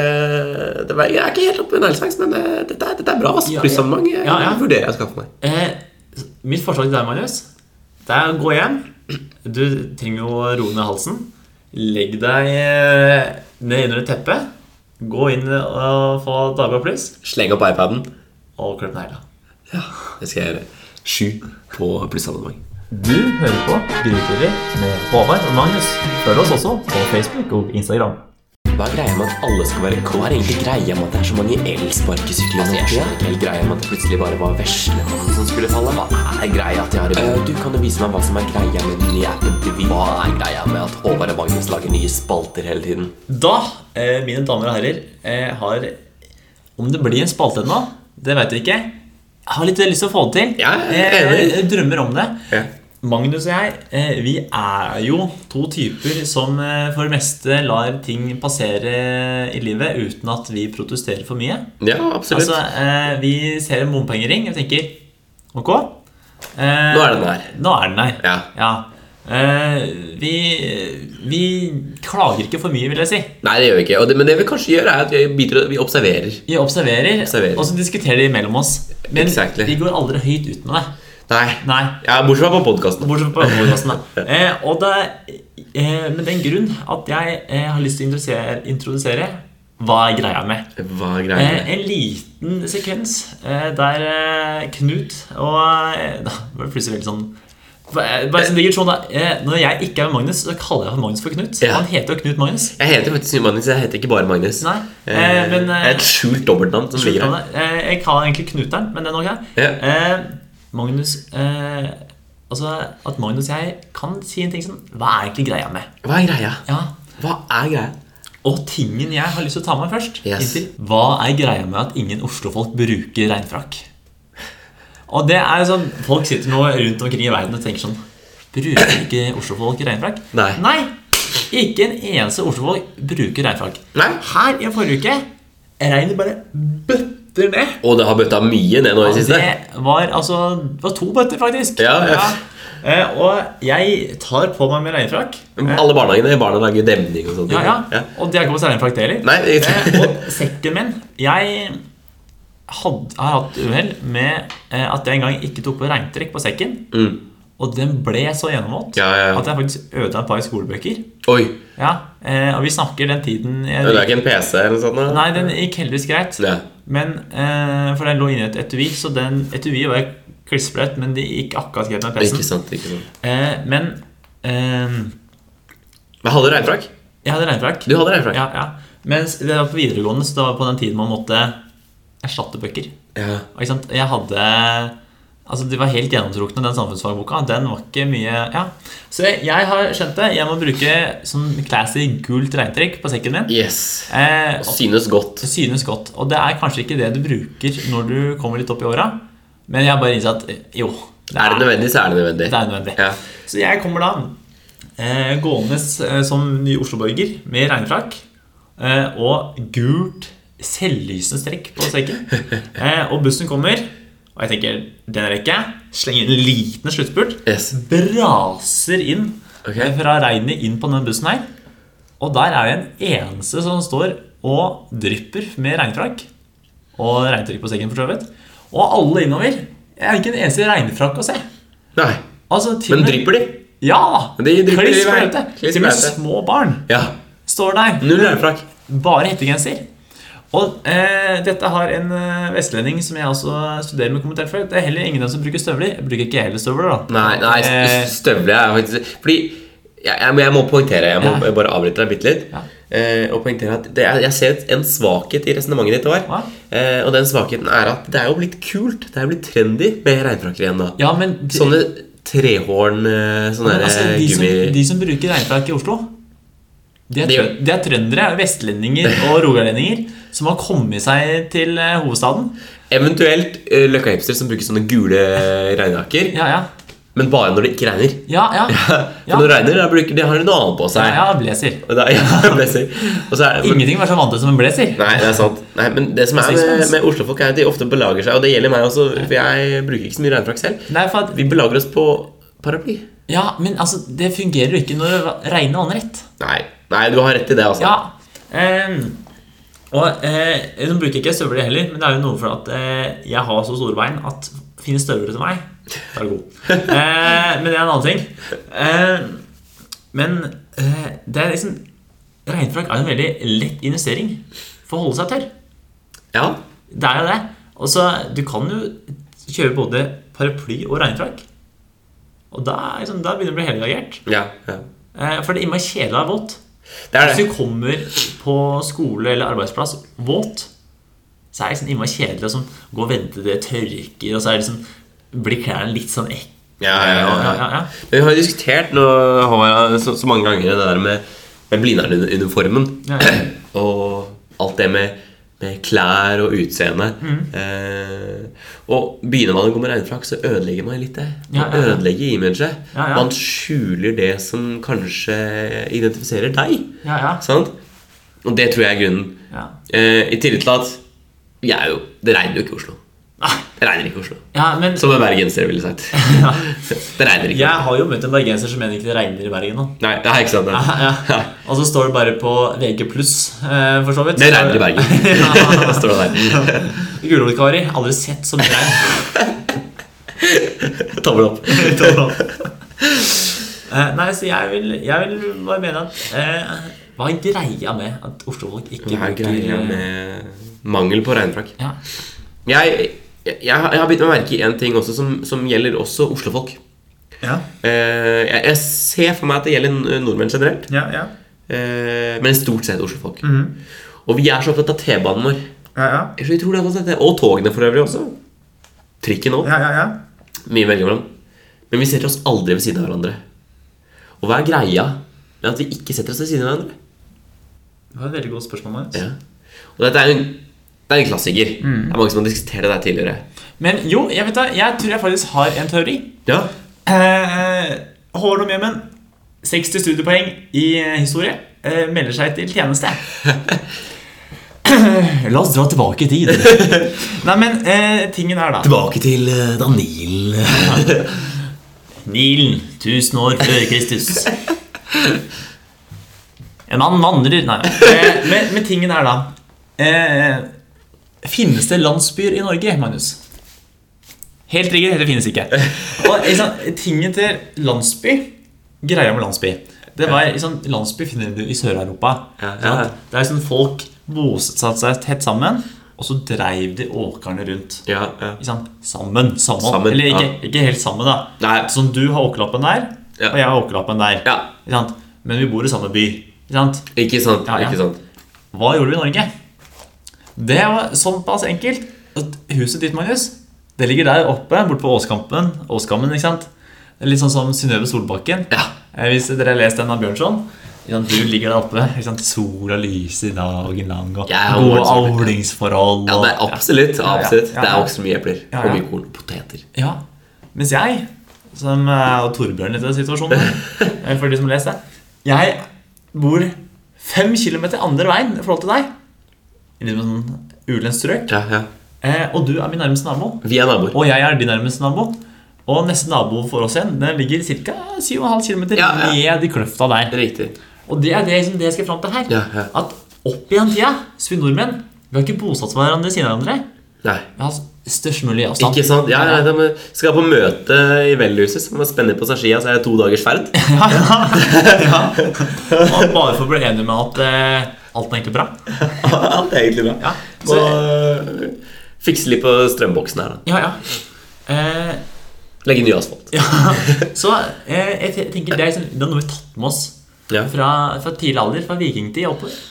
Speaker 1: det var, jeg er ikke helt oppe i neglesaks, men eh, dette, er- dette er bra. Altså.
Speaker 2: Ja, ja.
Speaker 1: Plussammenheng. Jeg,
Speaker 2: Ja, ja.
Speaker 1: jeg vurderer å skaffe meg.
Speaker 2: Eh, mitt forslag til deg, Magnus, det er å gå hjem. Du trenger jo å roe ned halsen. Legg deg eh, ned under et teppe. Gå inn og få Dagbladet Pluss,
Speaker 1: Sleng opp iPaden.
Speaker 2: og klipp negla.
Speaker 1: Ja, det skal jeg gjøre. Sju på plussammenheng.
Speaker 2: Du hører på Grytidlig med Håvard og Magnus. Følg oss også på Facebook og Instagram.
Speaker 1: Hva er greia med at alle skal være Hva er egentlig greia med at det er så mange elsparkesykler? Altså, jeg skjønner ikke helt greia med at det plutselig bare var veslemannen som skulle falle. Hva er greia at jeg har Eh, Du kan jo vise meg hva som er greia med den nye appen til Vy. Hva er greia med at Håvard og Magnus lager nye spalter hele tiden?
Speaker 2: Da, eh, mine damer og herrer, eh, har Om det blir en spalte nå, det vet jeg ikke. Jeg har litt lyst til å få det til.
Speaker 1: Ja, jeg er
Speaker 2: Eh,
Speaker 1: enig.
Speaker 2: jeg drømmer om det.
Speaker 1: Ja.
Speaker 2: Magnus og jeg eh, vi er jo to typer som eh, for det meste lar ting passere i livet uten at vi protesterer for mye.
Speaker 1: Ja, absolutt.
Speaker 2: Altså, eh, Vi ser en bompengering og tenker ok. eh,
Speaker 1: Nå er den her.
Speaker 2: Nå er den her.
Speaker 1: Ja.
Speaker 2: Eh, vi, vi klager ikke for mye, vil jeg si.
Speaker 1: Nei, det gjør vi ikke. Og det, men det vi kanskje gjør, er at vi, biter, og- vi observerer.
Speaker 2: Vi observerer,
Speaker 1: Observerer.
Speaker 2: og så diskuterer de mellom oss. Men
Speaker 1: Exactly.
Speaker 2: vi går aldri høyt ut med det.
Speaker 1: Nei.
Speaker 2: Nei.
Speaker 1: Ja, Bortsett fra på podkasten.
Speaker 2: Bortsett fra på podcasten, da. Eh, og det er eh, med den grunn at jeg eh, har lyst til å introdusere, introdusere hva er greia med.
Speaker 1: Hva er greia
Speaker 2: Eh,
Speaker 1: med det?
Speaker 2: en liten sekvens eh, der eh, Knut og eh, Da var det plutselig veldig sånn bare bare sånn digresjon, da. Eh, Når jeg ikke er med Magnus, så kaller jeg for Magnus for Knut.
Speaker 1: Ja.
Speaker 2: Han heter jo Knut Magnus.
Speaker 1: Jeg heter faktisk Mye Magnus, jeg heter ikke bare Magnus.
Speaker 2: Nei, eh,
Speaker 1: Eh,
Speaker 2: men, eh,
Speaker 1: Et skjult dobbeltnavn som ligger her.
Speaker 2: Sluttnavnet. Eh, Jeg kaller den egentlig Knuteren, men det er nok jeg.
Speaker 1: Ja.
Speaker 2: Eh, Magnus eh, Altså, at Magnus og jeg kan si en ting som Hva er egentlig greia med?
Speaker 1: Hva er greia?
Speaker 2: Ja.
Speaker 1: Hva er greia?
Speaker 2: Og tingen jeg har lyst til å ta med først
Speaker 1: Yes.
Speaker 2: inntil, Hva er greia med at ingen Oslo-folk bruker regnfrakk? Og det er jo sånn Folk sitter nå rundt omkring i verden og tenker sånn Bruker ikke Oslo-folk regnfrakk?
Speaker 1: Nei.
Speaker 2: Nei! Ikke en eneste Oslo-folk bruker regnfrakk.
Speaker 1: Nei.
Speaker 2: Her i forrige uke regnet bare bøtter ned.
Speaker 1: Og det har bøtta mye ned nå i det siste.
Speaker 2: Det var altså Det var to bøtter, faktisk.
Speaker 1: Ja, ja.
Speaker 2: Eh, og jeg tar på meg min regnfrakk. Eh,
Speaker 1: Alle barnehagene i barna lager demning og sånt.
Speaker 2: ja, ja. Og det er ikke på regnfrakk, det heller.
Speaker 1: Nei,
Speaker 2: Eh,
Speaker 1: det-
Speaker 2: og sekken min Jeg had, har hatt uhell med eh, at jeg en gang ikke tok på regntrekk på sekken.
Speaker 1: Mm.
Speaker 2: Og den ble så gjennomvåt
Speaker 1: Ja, ja, ja.
Speaker 2: at jeg faktisk ødela et par skolebøker.
Speaker 1: Oi,
Speaker 2: Ja, eh, Og vi snakker den tiden jeg,
Speaker 1: det er ikke en PC eller noe sånt? da?
Speaker 2: Nei, den gikk heldigvis greit.
Speaker 1: Ja.
Speaker 2: Men, eh, For den lå inni et etui, så den etuiet var klissbløtt, men det gikk akkurat greit med
Speaker 1: Ikke
Speaker 2: PC-en.
Speaker 1: sant. ikke sant
Speaker 2: Eh, men eh,
Speaker 1: Men hadde du regnfrakk?
Speaker 2: jeg hadde regnfrakk.
Speaker 1: Du hadde regnfrakk?
Speaker 2: Ja, ja. Mens det var på videregående, så det var på den tiden man måtte erstatte bøker.
Speaker 1: Ja.
Speaker 2: Og ikke sant, jeg hadde Altså, De var helt gjennomtrukne, den samfunnsfagboka. Den var ikke mye Ja. Så jeg har skjønt det. Jeg må bruke sånn classy gult regntrekk på sekken min.
Speaker 1: Yes.
Speaker 2: Eh,
Speaker 1: Synes godt.
Speaker 2: Det synes godt. Og det er kanskje ikke det du bruker når du kommer litt opp i åra, men jeg har bare innsett at eh, jo, det
Speaker 1: Er det nødvendig, så er det nødvendig.
Speaker 2: Det er nødvendig.
Speaker 1: Ja.
Speaker 2: Så jeg kommer da eh, gående eh, som ny Oslo-borger med regnfrakk eh, og gult selvlysende strekk på sekken. Eh, og bussen kommer, og jeg tenker den rekker jeg. Slenger inn en liten sluttspurt.
Speaker 1: Yes.
Speaker 2: Braser inn
Speaker 1: Ok.
Speaker 2: eh, fra regnet inn på denne bussen her. Og der er det en eneste som står og drypper med regnfrakk. Og regntørke på sengen, for så vidt. Og alle innover. Jeg har ikke en eneste regnfrakk å se.
Speaker 1: Nei.
Speaker 2: Altså, til og
Speaker 1: Men
Speaker 2: med-
Speaker 1: drypper de?
Speaker 2: Ja!
Speaker 1: Men de drypper i
Speaker 2: Kliss
Speaker 1: vei.
Speaker 2: blaute.
Speaker 1: Kliss
Speaker 2: Til og med
Speaker 1: blaute.
Speaker 2: små barn
Speaker 1: Ja.
Speaker 2: står der.
Speaker 1: Null regnfrakk.
Speaker 2: Bare hettegenser. Og eh, dette har en eh, vestlending som jeg også studerer med kommentert før. Det er heller ingen av dem som bruker støvler. Jeg bruker ikke jeg heller støvler, da.
Speaker 1: Nei, nei
Speaker 2: Eh,
Speaker 1: s- støvler er faktisk Fordi jeg, jeg, må- jeg må poengtere Jeg må
Speaker 2: Ja.
Speaker 1: bare avbryte deg bitte litt.
Speaker 2: Ja.
Speaker 1: eh, og poengtere at det er, Jeg ser et- en svakhet i resonnementet ditt. Håvard.
Speaker 2: Hva?
Speaker 1: Eh, og den svakheten er at det er jo blitt kult. Det er jo blitt trendy med regnfrakker igjen nå.
Speaker 2: ja, men de,
Speaker 1: Sånne trehorn eh, Sånne
Speaker 2: men, altså,
Speaker 1: der,
Speaker 2: de, som,
Speaker 1: gummi...
Speaker 2: de som bruker regnfrakk i Oslo, det er,
Speaker 1: De-
Speaker 2: trø- det er trøndere, vestlendinger og rogalendinger som har kommet seg til eh, hovedstaden.
Speaker 1: Eventuelt eh, Løkka Hipster som bruker sånne gule regnjakker.
Speaker 2: Ja, ja.
Speaker 1: Men bare når det ikke regner.
Speaker 2: Ja, ja.
Speaker 1: For når det regner, da bruker, de har de noe annet på
Speaker 2: ja,
Speaker 1: seg.
Speaker 2: ja blazer.
Speaker 1: Og da, ja, blazer. Og så er, men,
Speaker 2: Ingenting var så vant til som en blazer.
Speaker 1: nei, det er sant. Nei, men det som er med, med oslofolk, er at de ofte belager seg. Og det gjelder meg også, for jeg bruker ikke så mye regnfrakk selv.
Speaker 2: Nei, for at
Speaker 1: Vi belager oss på paraply.
Speaker 2: Ja, men altså, det fungerer jo ikke når det regner vannrett.
Speaker 1: Nei, nei du har rett i det, altså.
Speaker 2: Ja. ehm, og eh, nå bruker jeg ikke støvler heller, men det er jo noe for at eh, jeg har så store bein at finnes støvler til meg, da er det god. Eh, men det er en annen ting. Eh, men eh, det er liksom Regnfrakk er jo en veldig lett investering for å holde seg tørr.
Speaker 1: Ja.
Speaker 2: Det er jo det. Og så du kan jo kjøpe både paraply og regnfrakk. Og da, er liksom, da begynner det å bli helreagert.
Speaker 1: Ja. ja.
Speaker 2: Eh, for det er innmari kjedelig å være våt.
Speaker 1: Det er
Speaker 2: Hvis
Speaker 1: det.
Speaker 2: du kommer på skole eller arbeidsplass våt, så er det sånn innmari kjedelig å sånn, gå og vente til det tørker, og så er det sånn, blir klærne litt sånn ekle.
Speaker 1: Ja, ja, ja, ja.
Speaker 2: ja, ja.
Speaker 1: Men vi har jo diskutert nå, Håvard, så, så mange ganger det der med, med Blindern-uniformen.
Speaker 2: Ja, ja.
Speaker 1: Og alt det med, med klær og utseende.
Speaker 2: Mm.
Speaker 1: Eh, og begynner man å gå med regnfrakk, så ødelegger man litt det. Man
Speaker 2: Ja, ja, ja.
Speaker 1: ødelegger imaget.
Speaker 2: Ja, ja.
Speaker 1: Man skjuler det som kanskje identifiserer deg.
Speaker 2: Ja, ja.
Speaker 1: Sant? Og det tror jeg er grunnen.
Speaker 2: Ja.
Speaker 1: Eh, I tillegg til at vi er jo, det regner jo ikke i Oslo.
Speaker 2: Nei.
Speaker 1: Det regner ikke i Oslo.
Speaker 2: Ah, Ja, men
Speaker 1: Som en bergenser ville sagt.
Speaker 2: ja.
Speaker 1: det regner ikke.
Speaker 2: Jeg har jo møtt en bergenser som mener ikke det regner i Bergen nå.
Speaker 1: Nei, det er ikke sant. Det,
Speaker 2: Ja. Og så står det bare på VG+, eh, for så vidt.
Speaker 1: det regner i Bergen.
Speaker 2: ja.
Speaker 1: Står det der.
Speaker 2: Gulrotkari, aldri sett så mye regn.
Speaker 1: Tommel opp.
Speaker 2: Eh, nei, så jeg vil, jeg vil bare mene at eh, Hva er greia med at oslofolk ikke
Speaker 1: Det er greia
Speaker 2: eh,
Speaker 1: med mangel på regnfrakk.
Speaker 2: ja.
Speaker 1: Jeg, jeg, jeg har jeg har begynt å merke én ting også som, som gjelder også oslofolk.
Speaker 2: Ja.
Speaker 1: Eh, jeg, jeg ser for meg at det gjelder n- nordmenn generelt,
Speaker 2: Ja, ja.
Speaker 1: eh, men stort sett oslofolk.
Speaker 2: Mhm.
Speaker 1: Og vi er så opptatt av T-banen vår.
Speaker 2: Ja, ja.
Speaker 1: Jeg er så utrolig opptatt av det. Og togene for øvrig også. Trikken òg.
Speaker 2: ja, ja.
Speaker 1: Mye å velge mellom. Men vi setter oss aldri ved siden av hverandre. Og hva er greia med at vi ikke setter oss ved siden av hverandre?
Speaker 2: Det var et veldig godt spørsmål. Marius.
Speaker 1: Ja. Og dette er jo en, det er en klassiker.
Speaker 2: Mm.
Speaker 1: Det er mange som har diskutert det der tidligere.
Speaker 2: Men jo, jeg vet da, jeg tror jeg faktisk har en teori.
Speaker 1: Ja.
Speaker 2: Eh, Hård om Jemen, 60 studiepoeng i eh, historie, eh, melder seg til tjeneste. La oss dra tilbake i tid. Nei, men eh, tingen er da
Speaker 1: Tilbake til
Speaker 2: eh,
Speaker 1: da Nilen
Speaker 2: Nilen, tusen år før Kristus. En mann vandrer Nei. Eh, men, men tingen er da eh, Finnes det landsbyer i Norge, Magnus? Helt riktig, det finnes ikke. Og ikke sant, tingen til landsby Greia med landsby Det var ikke sant, Landsby finner du i Sør-Europa.
Speaker 1: Ja,
Speaker 2: ikke sant?
Speaker 1: ja.
Speaker 2: Det er sånn folk bosatte seg tett sammen, og så dreiv de åkrene rundt.
Speaker 1: ja, ja.
Speaker 2: Ikke sant? Sammen, sammen.
Speaker 1: Sammen,
Speaker 2: Eller ikke,
Speaker 1: ja.
Speaker 2: ikke helt sammen, da.
Speaker 1: Nei.
Speaker 2: Sånn du har åkerlappen der,
Speaker 1: Ja.
Speaker 2: og jeg har åkerlappen der.
Speaker 1: Ja.
Speaker 2: Ikke sant? Men vi bor i samme by. Ikke sant?
Speaker 1: Ikke sant.
Speaker 2: Ja, ja.
Speaker 1: Ikke sant.
Speaker 2: Hva gjorde vi i Norge? Det var såpass enkelt. at Huset ditt, Magnus, det ligger der oppe, borte på Åskampen. Åskammen, ikke sant? Det er Litt sånn som Synnøve Solbakken.
Speaker 1: Ja.
Speaker 2: Eh, Hvis dere har lest den av Bjørnson. ikke sant, Du ligger der oppe. ikke sant, Sola lyser dagen lang, og
Speaker 1: Ja,
Speaker 2: gode
Speaker 1: morgensola.
Speaker 2: avlingsforhold.
Speaker 1: Ja, det er
Speaker 2: og-
Speaker 1: absolutt.
Speaker 2: Ja, ja,
Speaker 1: absolutt.
Speaker 2: ja,
Speaker 1: Det er
Speaker 2: ja.
Speaker 1: også mye epler.
Speaker 2: Ja,
Speaker 1: Og
Speaker 2: ja.
Speaker 1: mye korn. Poteter.
Speaker 2: Ja. Mens jeg, som er jo Torbjørn i den situasjonen, eh, for de som leser det Jeg bor fem kilometer andre veien i forhold til deg. I litt sånn ulendt strøk.
Speaker 1: Ja, ja.
Speaker 2: Eh, og du er min nærmeste nabo.
Speaker 1: Vi er naboer.
Speaker 2: Og jeg er din nærmeste nabo. Og neste nabo for oss igjen den ligger ca. 7,5 km
Speaker 1: Ja, ja.
Speaker 2: ned i kløfta der.
Speaker 1: Riktig.
Speaker 2: Og det er det, liksom, det jeg skal fram til her.
Speaker 1: Ja, ja.
Speaker 2: At opp igjen tida, så vi nordmenn Vi har ikke bosatt hverandre ved siden av hverandre.
Speaker 1: Nei.
Speaker 2: Vi har størst mulig avstand.
Speaker 1: Ikke sant? Ja, ja, de skal på møte i Velhuset, som spenner på seg skia, så er det to dagers ferd.
Speaker 2: Og bare for å bli enig med at eh, alt er egentlig bra.
Speaker 1: Alt er egentlig bra.
Speaker 2: Ja,
Speaker 1: Må
Speaker 2: så,
Speaker 1: fikse eh, litt på strømboksen her, da.
Speaker 2: ja, ja. Eh,
Speaker 1: Legge ny asfalt.
Speaker 2: ja. Så eh, jeg te- tenker det er liksom, det er noe vi har tatt med oss
Speaker 1: Ja.
Speaker 2: fra, fra tidlig alder, fra vikingtid og oppover.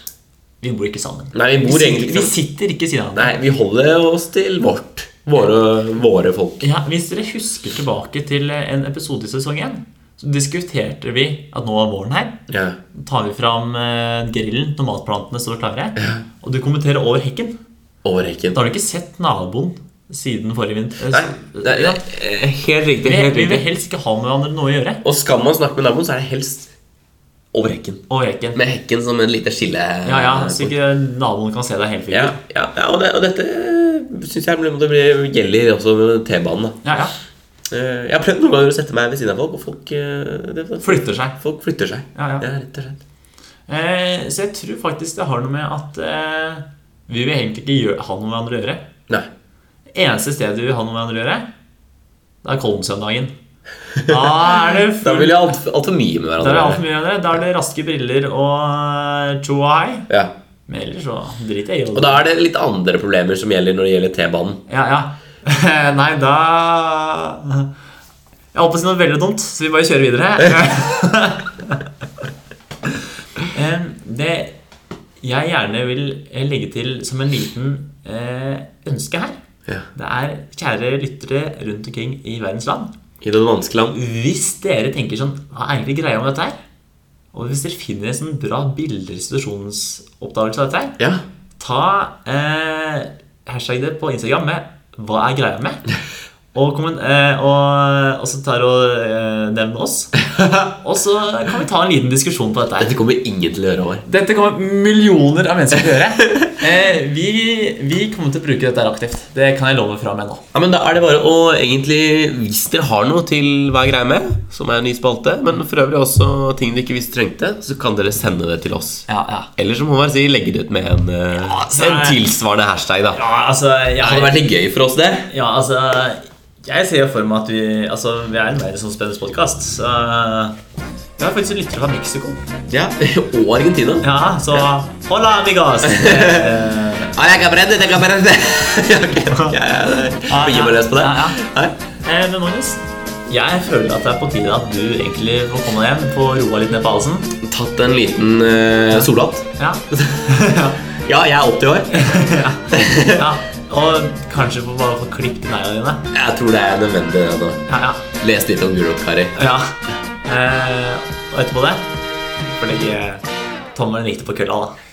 Speaker 2: Vi bor ikke sammen.
Speaker 1: Nei, vi bor egentlig ikke
Speaker 2: sitter, vi
Speaker 1: sammen.
Speaker 2: sitter ikke siden av hverandre.
Speaker 1: Nei, vi holder oss til vårt. Våre, våre folk.
Speaker 2: Ja, hvis dere husker tilbake til eh, en episode i sesong 1, så diskuterte vi at nå er våren her.
Speaker 1: Ja.
Speaker 2: tar vi fram eh, grillen når matplantene står klare. Og du kommenterer over hekken.
Speaker 1: Over hekken.
Speaker 2: Da har du ikke sett naboen siden forrige vinter.
Speaker 1: Nei, det er, eh, helt riktig.
Speaker 2: Vi,
Speaker 1: helt
Speaker 2: vi vil
Speaker 1: riktig
Speaker 2: helst ikke ha med hverandre noe å gjøre.
Speaker 1: Og skal man snakke med naboen, så er det helst over hekken.
Speaker 2: Over hekken.
Speaker 1: Med hekken som en lite skille.
Speaker 2: Ja, ja, Så ikke naboen kan se deg helt
Speaker 1: ja,
Speaker 2: fint.
Speaker 1: ja, ja, og, det, og dette syns jeg blir- det blir, gjelder også med T-banen. da
Speaker 2: Ja, ja.
Speaker 1: Eh, Jeg har prøvd noen ganger å sette meg ved siden av folk, og folk, eh, det,
Speaker 2: Flytter seg.
Speaker 1: folk flytter seg.
Speaker 2: Ja, ja.
Speaker 1: rett og slett.
Speaker 2: Eh, så jeg tror faktisk det har noe med at eh, vi vil egentlig ikke gjø- ha noe med hverandre å gjøre.
Speaker 1: Nei.
Speaker 2: Eneste stedet vi vil ha noe med hverandre å gjøre, det er Kolmsøndagen. Da er det
Speaker 1: Da
Speaker 2: full
Speaker 1: vil jeg altfor alt for mye med
Speaker 2: Da er det
Speaker 1: hverandre.
Speaker 2: alt for mye av det. Da er det raske briller og eh, tjo og hei.
Speaker 1: ja.
Speaker 2: Men ellers så driter jeg i
Speaker 1: Og
Speaker 2: det.
Speaker 1: da er det litt andre problemer som gjelder når det gjelder T-banen.
Speaker 2: Ja, ja. Nei, da Jeg holdt på å si noe veldig dumt, så vi bare kjører videre. Em, det jeg gjerne vil eh, legge til som en liten eh, ønske her,
Speaker 1: Ja.
Speaker 2: det er kjære lyttere rundt omkring i verdens land.
Speaker 1: I det vanskelige land.
Speaker 2: Hvis dere tenker sånn Hva er egentlig greia med dette her? Og hvis dere finner en sånn bra bilderestitusjonsoppdagelse av dette her,
Speaker 1: Ja.
Speaker 2: ta eh, hashtag det på Instagram med 'Hva er greia med?' Og, kommen- eh, og, og så tar og eh, nevner oss. Og så kan vi ta en liten diskusjon på dette her.
Speaker 1: Dette kommer ingen til å gjøre over.
Speaker 2: Dette kommer millioner av mennesker til å gjøre. Eh, vi, vi kommer til å bruke dette her aktivt. Det kan jeg love fra meg nå.
Speaker 1: Ja, men da er det bare å egentlig Hvis dere har noe til hva er greia med, som er en ny spalte, men for øvrig også ting dere ikke visste trengte, så kan dere sende det til oss.
Speaker 2: Ja, ja.
Speaker 1: Eller så må man si legge det ut med en, eh,
Speaker 2: altså-
Speaker 1: en tilsvarende hashtag, da.
Speaker 2: ja altså, jeg,
Speaker 1: Det hadde vært litt gøy for oss, det.
Speaker 2: Ja, altså Jeg ser jo for meg at vi Altså, vi er en verdensomspennende podkast, så Vi har faktisk lyttere fra Mexico.
Speaker 1: Ja. Og Argentina.
Speaker 2: Ja, så Hola, amigos! Eh,
Speaker 1: Ah, jeg kan brenne, jeg kan brenne. Jeg kan ikke- jeg-
Speaker 2: Ah,
Speaker 1: jeg gir meg
Speaker 2: ja.
Speaker 1: løs på det.
Speaker 2: Ja, ja.
Speaker 1: Nei.
Speaker 2: eh, Men Magnus, jeg føler at det er på tide at du egentlig må komme deg hjem, få roa litt ned på halsen.
Speaker 1: Tatt en liten uh, solhatt.
Speaker 2: Ja.
Speaker 1: Ja, jeg er 80 år.
Speaker 2: ja. Og kanskje få bare få klippet negla dine.
Speaker 1: Jeg tror det er nødvendig. det nå.
Speaker 2: Ja, ja.
Speaker 1: Les litt om Gulrotkari.
Speaker 2: ja. Eh, og etterpå det får legge eh, tommelen riktig på kølla, da.